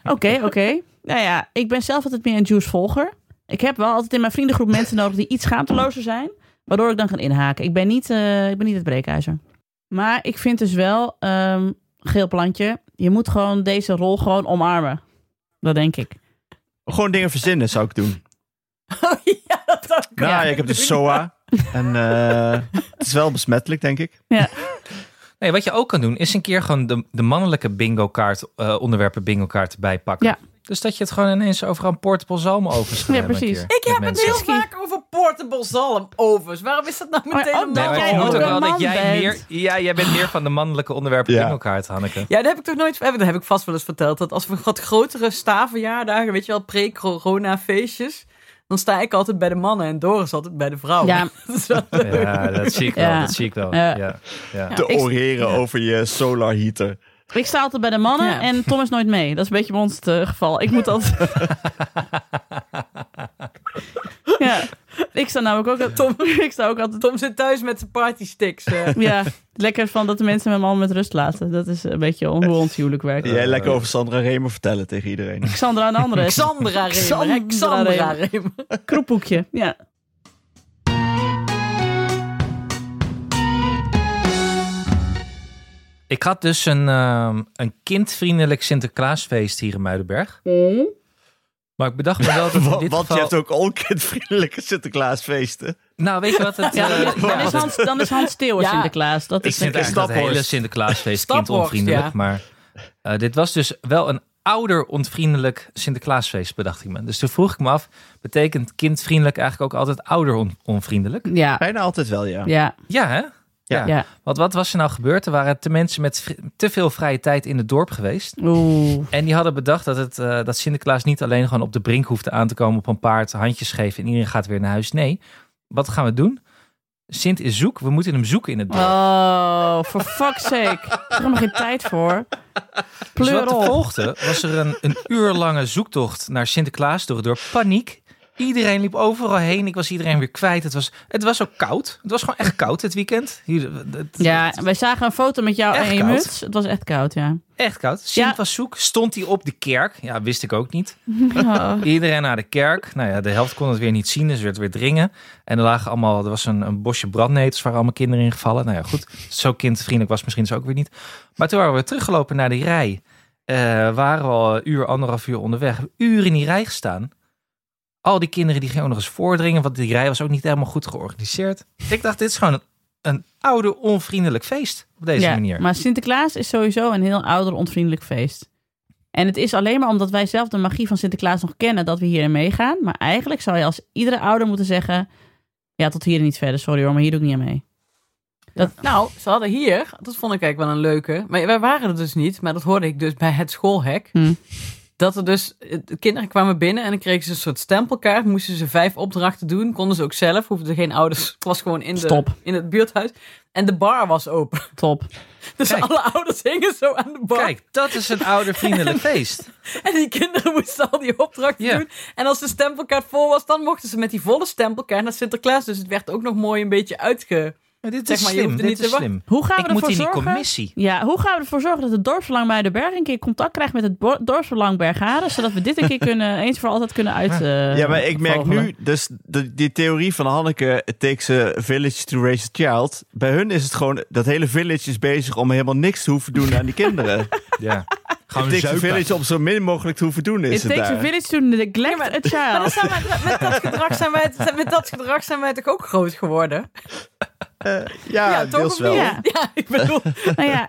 Speaker 3: Oké, oké. Nou ja, ik ben zelf altijd meer een Juice-volger. Ik heb wel altijd in mijn vriendengroep mensen nodig die iets schaamtelozer zijn, waardoor ik dan kan inhaken. Ik ben niet, eh, ik ben niet het breekijzer. Maar ik vind dus wel, ehm, geel plantje, je moet gewoon deze rol gewoon omarmen. Dat denk ik.
Speaker 5: Gewoon dingen verzinnen zou ik doen.
Speaker 4: Oh, ja, dat ook.
Speaker 5: Nou ja, ik heb de SOA. En eh, het is wel besmettelijk, denk ik.
Speaker 2: Nee, wat je ook kan doen, is een keer gewoon de, de mannelijke bingo kaart, eh, onderwerpen bingo kaart erbij pakken.
Speaker 3: Ja.
Speaker 2: Dus dat je het gewoon ineens overal een portable zalm overschrijft.
Speaker 3: Ja, precies.
Speaker 4: Ik heb het heel vaak over portable zalm overs. Waarom is dat nou
Speaker 3: Maar
Speaker 4: meteen een
Speaker 2: Nee, maar
Speaker 3: omdat
Speaker 4: man?
Speaker 3: jij
Speaker 2: ik vermoed
Speaker 3: ook
Speaker 2: ook
Speaker 3: een
Speaker 2: wel dat
Speaker 3: man
Speaker 2: jij meer,
Speaker 3: bent.
Speaker 2: ja, jij bent meer van de mannelijke onderwerpen
Speaker 5: Ja.
Speaker 2: bingo kaart, Hanneke.
Speaker 4: Ja, dat heb ik toch nooit. eh, Dat heb ik vast wel eens verteld. Dat als we wat grotere staverjaardagen, weet je wel, pre-corona feestjes. Dan sta ik altijd bij de mannen en Doris altijd bij de vrouwen.
Speaker 5: Oh.
Speaker 4: Dus
Speaker 3: Ja.
Speaker 4: Dat is wel-
Speaker 2: Ja, dat zie ik wel.
Speaker 3: Ja.
Speaker 2: Dat zie ik wel.
Speaker 3: Ja.
Speaker 2: Ja. Ja.
Speaker 5: Te
Speaker 3: ik-
Speaker 5: oreren over je solar heater.
Speaker 3: Ik sta altijd bij de mannen
Speaker 4: Ja.
Speaker 3: en Tom is nooit mee. Dat is een beetje bij ons het eh, geval. Ik moet altijd... ja, ik sta namelijk ook altijd... Tom, ik sta ook altijd...
Speaker 4: Tom zit thuis met zijn party sticks. eh.
Speaker 3: Ja, lekker van dat de mensen mijn man met rust laten. Dat is een beetje hoe ons huwelijk werkt.
Speaker 5: Jij lekker over Sandra Remer vertellen tegen iedereen.
Speaker 3: Xandra en anderen.
Speaker 4: Xandra Remer. hè?
Speaker 3: Xandra
Speaker 4: Xandra
Speaker 3: Remer.
Speaker 4: Remer.
Speaker 3: Kroephoekje. Ja.
Speaker 2: Ik had dus een, ehm, een kindvriendelijk Sinterklaasfeest hier in Muidenberg.
Speaker 3: Mm.
Speaker 2: Maar ik bedacht me wel dat in
Speaker 5: Wa-
Speaker 2: dit
Speaker 5: Want
Speaker 2: geval...
Speaker 5: je hebt ook onkindvriendelijke Sinterklaasfeesten.
Speaker 2: Nou, weet je wat het...
Speaker 3: Ja,
Speaker 2: eh,
Speaker 3: dan, is- dan is Hans, dan is Hans Steeuw
Speaker 4: Ja.
Speaker 3: Sinterklaas. Dat
Speaker 2: Ik
Speaker 3: is
Speaker 2: vind eigenlijk dat
Speaker 5: Staphorst.
Speaker 2: hele Sinterklaasfeest
Speaker 4: Staphorst,
Speaker 2: kindonvriendelijk.
Speaker 4: ja.
Speaker 2: Maar eh, dit was dus wel een ouderonvriendelijk Sinterklaasfeest, bedacht ik me. Dus toen vroeg ik me af, betekent kindvriendelijk eigenlijk ook altijd ouderonvriendelijk?
Speaker 3: Ja,
Speaker 5: Bijna altijd wel, ja.
Speaker 3: ja,
Speaker 2: Ja, hè?
Speaker 5: Ja.
Speaker 3: ja.
Speaker 2: Want wat was er nou gebeurd? Er waren te mensen met vri- te veel vrije tijd in het dorp geweest.
Speaker 3: Oeh.
Speaker 2: En die hadden bedacht dat, het, eh, dat Sinterklaas niet alleen gewoon op de brink hoefde aan te komen op een paard, handjes geven en iedereen gaat weer naar huis. Nee, wat gaan we doen? Sint is zoek, we moeten hem zoeken in het dorp.
Speaker 3: Oh, for fuck's sake. Er is helemaal geen tijd voor.
Speaker 2: Dus
Speaker 3: Pleur
Speaker 2: wat er
Speaker 3: op.
Speaker 2: volgde, was er een, een uur lange zoektocht naar Sinterklaas door het dorp. Paniek. Iedereen liep overal heen. Ik was iedereen weer kwijt. Het was, het was ook koud. Het was gewoon echt koud dit weekend. Hier, het-
Speaker 3: Ja, wij zagen een foto met jou
Speaker 2: Echt
Speaker 3: en je
Speaker 2: koud.
Speaker 3: muts. Het was echt koud, ja.
Speaker 2: Echt koud. Sint
Speaker 3: Ja.
Speaker 2: was zoek. Stond hij op de kerk? Ja, wist ik ook niet.
Speaker 3: Oh.
Speaker 2: Iedereen naar de kerk. Nou ja, de helft kon het weer niet zien, dus werd weer dringen. En er lagen allemaal, er was een, een bosje brandnetels waar allemaal kinderen in gevallen. Nou ja, goed. Zo kindvriendelijk was misschien ze ook weer niet. Maar toen waren we teruggelopen naar die rij. Eh, waren we al een uur, anderhalf uur onderweg. Hebben uren in die rij gestaan. Al die kinderen die gingen ook nog eens voordringen, want die rij was ook niet helemaal goed georganiseerd. Ik dacht, dit is gewoon een, een oude onvriendelijk feest op deze
Speaker 3: ja,
Speaker 2: manier.
Speaker 3: Maar Sinterklaas is sowieso een heel ouder onvriendelijk feest. En het is alleen maar omdat wij zelf de magie van Sinterklaas nog kennen dat we hierin meegaan. Maar eigenlijk zou je als iedere ouder moeten zeggen: Ja, tot hier en niet verder, sorry hoor, maar hier doe ik niet aan mee.
Speaker 4: Nou, ze hadden hier, dat vond ik eigenlijk wel een leuke. Maar wij waren er dus niet, maar dat hoorde ik dus bij het schoolhek.
Speaker 3: Hm.
Speaker 4: Dat er dus, eh, de kinderen kwamen binnen en dan kregen ze een soort stempelkaart. Moesten ze vijf opdrachten doen, konden ze ook zelf, hoefden er geen ouders. Het was gewoon in, de,
Speaker 3: Stop.
Speaker 4: in het buurthuis. En de bar was open.
Speaker 3: Top.
Speaker 4: Dus
Speaker 2: Kijk.
Speaker 4: alle ouders hingen zo aan de bar.
Speaker 2: Kijk, dat is een oudervriendelijk feest.
Speaker 4: En die kinderen moesten al die opdrachten
Speaker 2: Ja.
Speaker 4: doen. En als de stempelkaart vol was, dan mochten ze met die volle stempelkaart naar Sinterklaas. Dus het werd ook nog mooi een beetje uitge...
Speaker 2: Maar dit
Speaker 4: Zeg
Speaker 2: is
Speaker 4: maar, je
Speaker 2: slim.
Speaker 4: hoeft er
Speaker 2: Dit
Speaker 4: niet te
Speaker 2: is
Speaker 4: wachten.
Speaker 2: slim.
Speaker 3: Hoe gaan we
Speaker 2: Ik moet
Speaker 3: ervoor
Speaker 2: in die
Speaker 3: zorgen?
Speaker 2: commissie.
Speaker 3: Ja, hoe gaan we ervoor zorgen dat het dorpsbelang Muidenberg een keer contact krijgt met het bo- dorpsbelang Bergharen, zodat we dit een keer kunnen, eens voor altijd kunnen uit. eh,
Speaker 5: ja, maar ik merk
Speaker 3: vogelen?
Speaker 5: nu, dus de, die theorie van Hanneke, it takes a village to raise a child. Bij hun is het gewoon, dat hele village is bezig om helemaal niks te hoeven doen aan die kinderen.
Speaker 2: Ja.
Speaker 5: Gewoon it takes a village om zo min mogelijk te hoeven doen,
Speaker 3: It
Speaker 5: is het
Speaker 3: takes a
Speaker 5: daar.
Speaker 3: village to neglect a
Speaker 4: Maar dan
Speaker 3: child.
Speaker 4: zijn wij- met, dat gedrag zijn wij, met dat gedrag zijn wij toch ook groot geworden?
Speaker 5: ja,
Speaker 4: Ja, toch
Speaker 5: deels
Speaker 4: of
Speaker 5: wel.
Speaker 3: Ja.
Speaker 4: Ja, ik bedoel...
Speaker 3: Nou ja,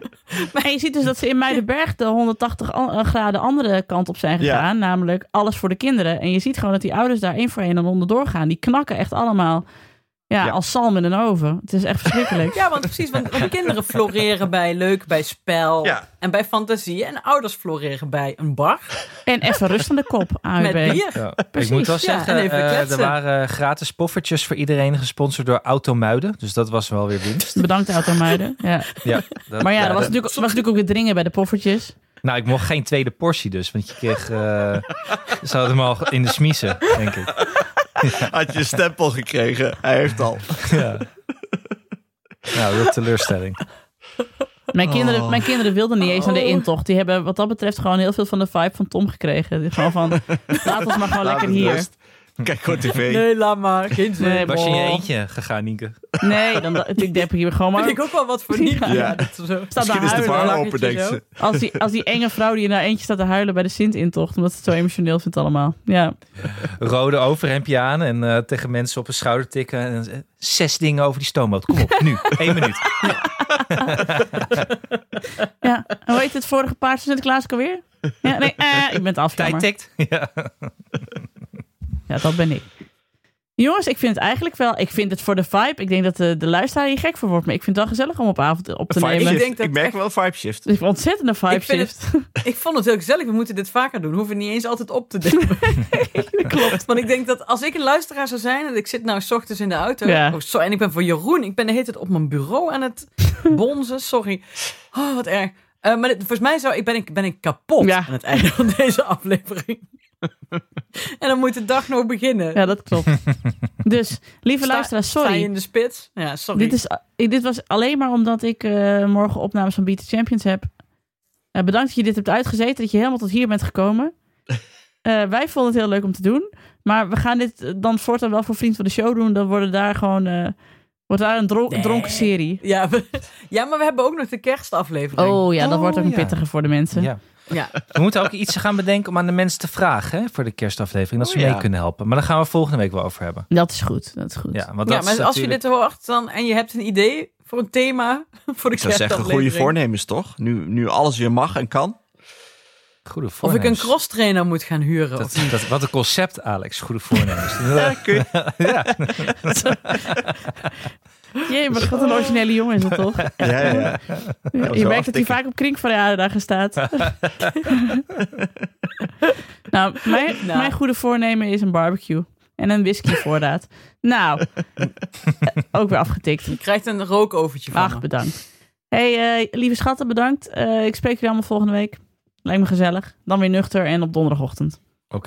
Speaker 3: maar je ziet dus dat ze in Muidenberg de 180 an- eh, graden andere kant op zijn
Speaker 5: Ja.
Speaker 3: gegaan. Namelijk alles voor de kinderen. En je ziet gewoon dat die ouders daar één voor één aan onderdoor gaan. Die knakken echt allemaal ja,
Speaker 5: Ja.
Speaker 3: als zalm in een oven. Het is echt verschrikkelijk.
Speaker 4: Ja, want precies, want, want kinderen floreren bij leuk, bij spel
Speaker 5: Ja.
Speaker 4: en bij fantasie. En ouders floreren bij een bar
Speaker 3: En even rust aan de kop,
Speaker 4: met
Speaker 3: AUB.
Speaker 4: bier.
Speaker 2: Ja,
Speaker 3: Precies,
Speaker 2: ik moet wel
Speaker 4: ja,
Speaker 2: zeggen,
Speaker 4: en even
Speaker 2: eh, er
Speaker 4: kletsen.
Speaker 2: waren gratis poffertjes voor iedereen gesponsord door Automuiden. Dus dat was wel weer winst.
Speaker 3: Bedankt, Automuiden. Ja.
Speaker 2: Ja, dat-
Speaker 3: Maar ja, er was natuurlijk, was natuurlijk ook weer dringen bij de poffertjes.
Speaker 2: Nou, ik mocht geen tweede portie dus, want je kreeg... eh, ze hadden hem al in de smiezen, denk ik.
Speaker 5: Had je een stempel gekregen, hij heeft al.
Speaker 2: Ja. Nou, dat teleurstelling.
Speaker 3: Mijn, kinderen,
Speaker 5: Oh.
Speaker 3: mijn kinderen wilden niet eens aan
Speaker 4: Oh.
Speaker 3: de intocht. Die hebben wat dat betreft gewoon heel veel van de vibe van Tom gekregen. Die Gewoon van, laat ons maar gewoon
Speaker 5: Laat
Speaker 3: lekker
Speaker 5: het
Speaker 3: hier.
Speaker 5: rust. Kijk gewoon tv.
Speaker 4: Nee, laat maar. Geen zin.
Speaker 3: Nee,
Speaker 2: Was je in je
Speaker 3: boh.
Speaker 2: eentje gegaan, Nienke?
Speaker 3: Nee, dan, ik heb hier gewoon maar...
Speaker 4: Vind ik ook wel wat voor niet.
Speaker 3: Ja.
Speaker 5: Ja.
Speaker 4: dat is zo.
Speaker 3: staat
Speaker 5: Misschien is de
Speaker 3: huilen.
Speaker 5: bar
Speaker 4: Vlaggetje
Speaker 5: open, denkt
Speaker 4: zo.
Speaker 5: ze.
Speaker 3: Als die, als die enge vrouw die in haar eentje staat te huilen bij de Sint-intocht. Omdat ze het zo emotioneel vindt allemaal. Ja.
Speaker 2: Rode overhemdje aan en eh, tegen mensen op een schouder tikken. En, eh, zes dingen over die stoomboot. Kom op, nu. Eén minuut.
Speaker 3: ja. En hoe heet het vorige paard van Sinterklaas ook alweer? Ja, nee, eh, ik ben het af.
Speaker 2: Tijd
Speaker 3: jammer.
Speaker 2: tikt. Ja.
Speaker 3: Ja, dat ben ik. Jongens, ik vind het eigenlijk wel... Ik vind het voor de vibe. Ik denk dat de, de luisteraar hier gek voor wordt. Maar ik vind het wel gezellig om op avond op te
Speaker 5: Vibe
Speaker 3: nemen.
Speaker 5: shift.
Speaker 4: denk dat
Speaker 5: ik merk
Speaker 4: echt-
Speaker 5: wel een vibe shift.
Speaker 3: Het is een ontzettende vibe
Speaker 4: Ik vind
Speaker 3: shift.
Speaker 4: Ik vond het heel gezellig. We moeten dit vaker doen. We hoeven niet eens altijd op te nemen. Klopt. Want ik denk dat als ik een luisteraar zou zijn... en ik zit nou 's ochtends in de auto...
Speaker 3: Ja.
Speaker 4: Oh, zo, en ik ben voor Jeroen. Ik ben de hele tijd op mijn bureau aan het bonzen. Sorry. Oh, wat erg. Eh, maar dit- volgens mij zou, ik ben, ik, ben ik kapot
Speaker 3: Ja.
Speaker 4: aan het einde van deze aflevering. en dan moet de dag nog beginnen.
Speaker 3: Ja, dat klopt. Dus, lieve
Speaker 4: Sta-
Speaker 3: luisteraars,
Speaker 4: Sta je
Speaker 3: sorry.
Speaker 4: in de spits? Ja, sorry.
Speaker 3: Dit, is, eh, dit was alleen maar omdat ik eh, morgen opnames van Beat the Champions heb. Eh, bedankt dat je dit hebt uitgezeten, dat je helemaal tot hier bent gekomen. Eh, wij vonden het heel leuk om te doen. Maar we gaan dit eh, dan voortaan wel voor Vriend van de Show doen. Dan worden daar gewoon, eh, wordt daar een dro-
Speaker 4: Nee.
Speaker 3: dronken serie.
Speaker 4: ja, we- ja, maar we hebben ook nog de kerstaflevering.
Speaker 3: Oh ja, dat wordt ook een
Speaker 2: ja.
Speaker 3: pittige voor de mensen.
Speaker 2: ja.
Speaker 4: Ja.
Speaker 2: We moeten ook iets gaan bedenken om aan de mensen te vragen hè, voor de kerstaflevering. Dat ze
Speaker 5: Oh,
Speaker 2: mee
Speaker 5: ja.
Speaker 2: kunnen helpen. Maar daar gaan we volgende week wel over hebben.
Speaker 3: Dat is goed, dat is goed.
Speaker 2: Ja, want dat
Speaker 4: Ja, maar als
Speaker 2: is
Speaker 4: je
Speaker 2: natuurlijk-
Speaker 4: dit hoort dan, en je hebt een idee voor een thema voor de
Speaker 5: Ik zou zeggen, goede
Speaker 4: kerstaflevering.
Speaker 5: voornemens toch? Nu, nu alles weer mag en kan.
Speaker 2: Goede
Speaker 4: Of ik een
Speaker 2: voornemens.
Speaker 4: crosstrainer moet gaan huren.
Speaker 2: Dat,
Speaker 4: of niet.
Speaker 2: dat, wat een concept, Alex. Goede voornemens.
Speaker 5: Ja, kun je-
Speaker 3: Jee, maar wat een originele jongen is dat toch?
Speaker 5: ja, ja, ja.
Speaker 3: Ja, je
Speaker 5: zo
Speaker 3: merkt dat hij
Speaker 5: aftikken.
Speaker 3: vaak op kringverjaardagen staat. nou, mijn,
Speaker 4: Nou.
Speaker 3: mijn goede voornemen is een barbecue. En een whiskyvoorraad. nou, eh, ook weer afgetikt.
Speaker 4: Je krijgt een rookovertje van
Speaker 3: Ach,
Speaker 4: me.
Speaker 3: bedankt. hey, eh, lieve schatten, bedankt. Eh, ik spreek jullie allemaal volgende week. Lijkt me gezellig. Dan weer nuchter en op donderdagochtend.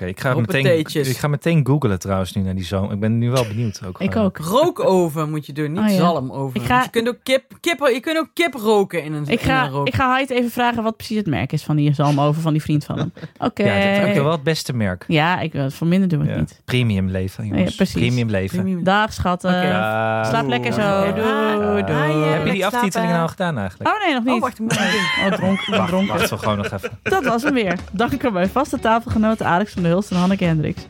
Speaker 2: ik ga,
Speaker 4: Hoppe
Speaker 2: meteen,
Speaker 4: teetjes.
Speaker 2: ik ga meteen googlen trouwens nu naar die zoon. Ik ben nu wel benieuwd ook.
Speaker 3: Ik
Speaker 2: gewoon.
Speaker 3: ook.
Speaker 4: Rookoven moet je doen, niet
Speaker 3: Oh, ja.
Speaker 4: zalmoven.
Speaker 3: Ik ga-
Speaker 4: Dus je, kunt ook kip, kip, je kunt ook kip roken in een,
Speaker 3: Ik
Speaker 4: in een
Speaker 3: ga,
Speaker 4: rook.
Speaker 3: ik ga Hyde even vragen wat precies het merk is van die zalmoven van die vriend van hem. Oké.
Speaker 2: Ja, dat is ook wel het beste merk.
Speaker 3: Ja, ik wil voor minder doen we het
Speaker 2: Ja.
Speaker 3: niet.
Speaker 2: Premium leven, jongens.
Speaker 3: Ja, precies.
Speaker 2: Premium leven.
Speaker 4: Premium.
Speaker 3: Dag schatten.
Speaker 4: Oké.
Speaker 2: Dag.
Speaker 3: Slaap lekker zo.
Speaker 2: Doei.
Speaker 3: Doei,
Speaker 2: Dag.
Speaker 3: doei.
Speaker 2: Heb je die
Speaker 4: Lekker
Speaker 2: aftiteling
Speaker 4: slapen.
Speaker 2: nou gedaan eigenlijk?
Speaker 3: Oh nee, nog niet.
Speaker 4: Oh, wacht, ik moet nog doen.
Speaker 3: Oh, dronk, ik ben dronken.
Speaker 2: Wacht, we gewoon nog even.
Speaker 3: Dat was hem weer. Dank aan mijn vaste tafelgenoten Alex van der Hulst en Hanneke Hendricks.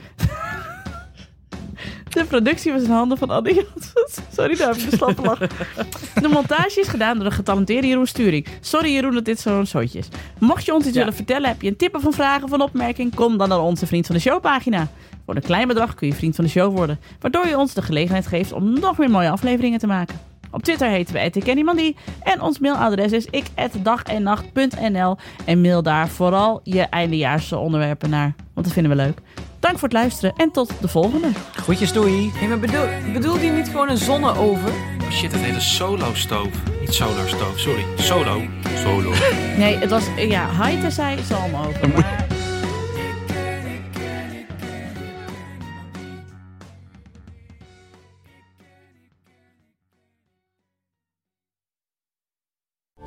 Speaker 3: De productie was in handen van Annie Janssens. Sorry, daar heb ik de slappe lach. De montage is gedaan door de getalenteerde Jeroen Sturing. Sorry Jeroen dat dit zo'n zootje is. Mocht je ons iets
Speaker 4: Ja.
Speaker 3: willen vertellen, heb je een tip of een vraag of een opmerking... kom dan naar onze Vriend van de Show pagina. Voor een klein bedrag kun je Vriend van de Show worden... waardoor je ons de gelegenheid geeft om nog meer mooie afleveringen te maken. Op Twitter heten we @ikkenniemandie en ons mailadres is ik@dagennacht.nl en mail daar vooral je eindejaarse onderwerpen naar, want dat vinden we leuk. Dank voor het luisteren en tot de volgende.
Speaker 2: Groetjes, doei.
Speaker 4: Nee, maar bedoel, bedoelt hij niet gewoon een zonneoven?
Speaker 7: Oh shit, het heet een solo stoof. Niet solar stoof, sorry. Solo. Solo.
Speaker 3: Nee, het was ja, Haite zei zalm over.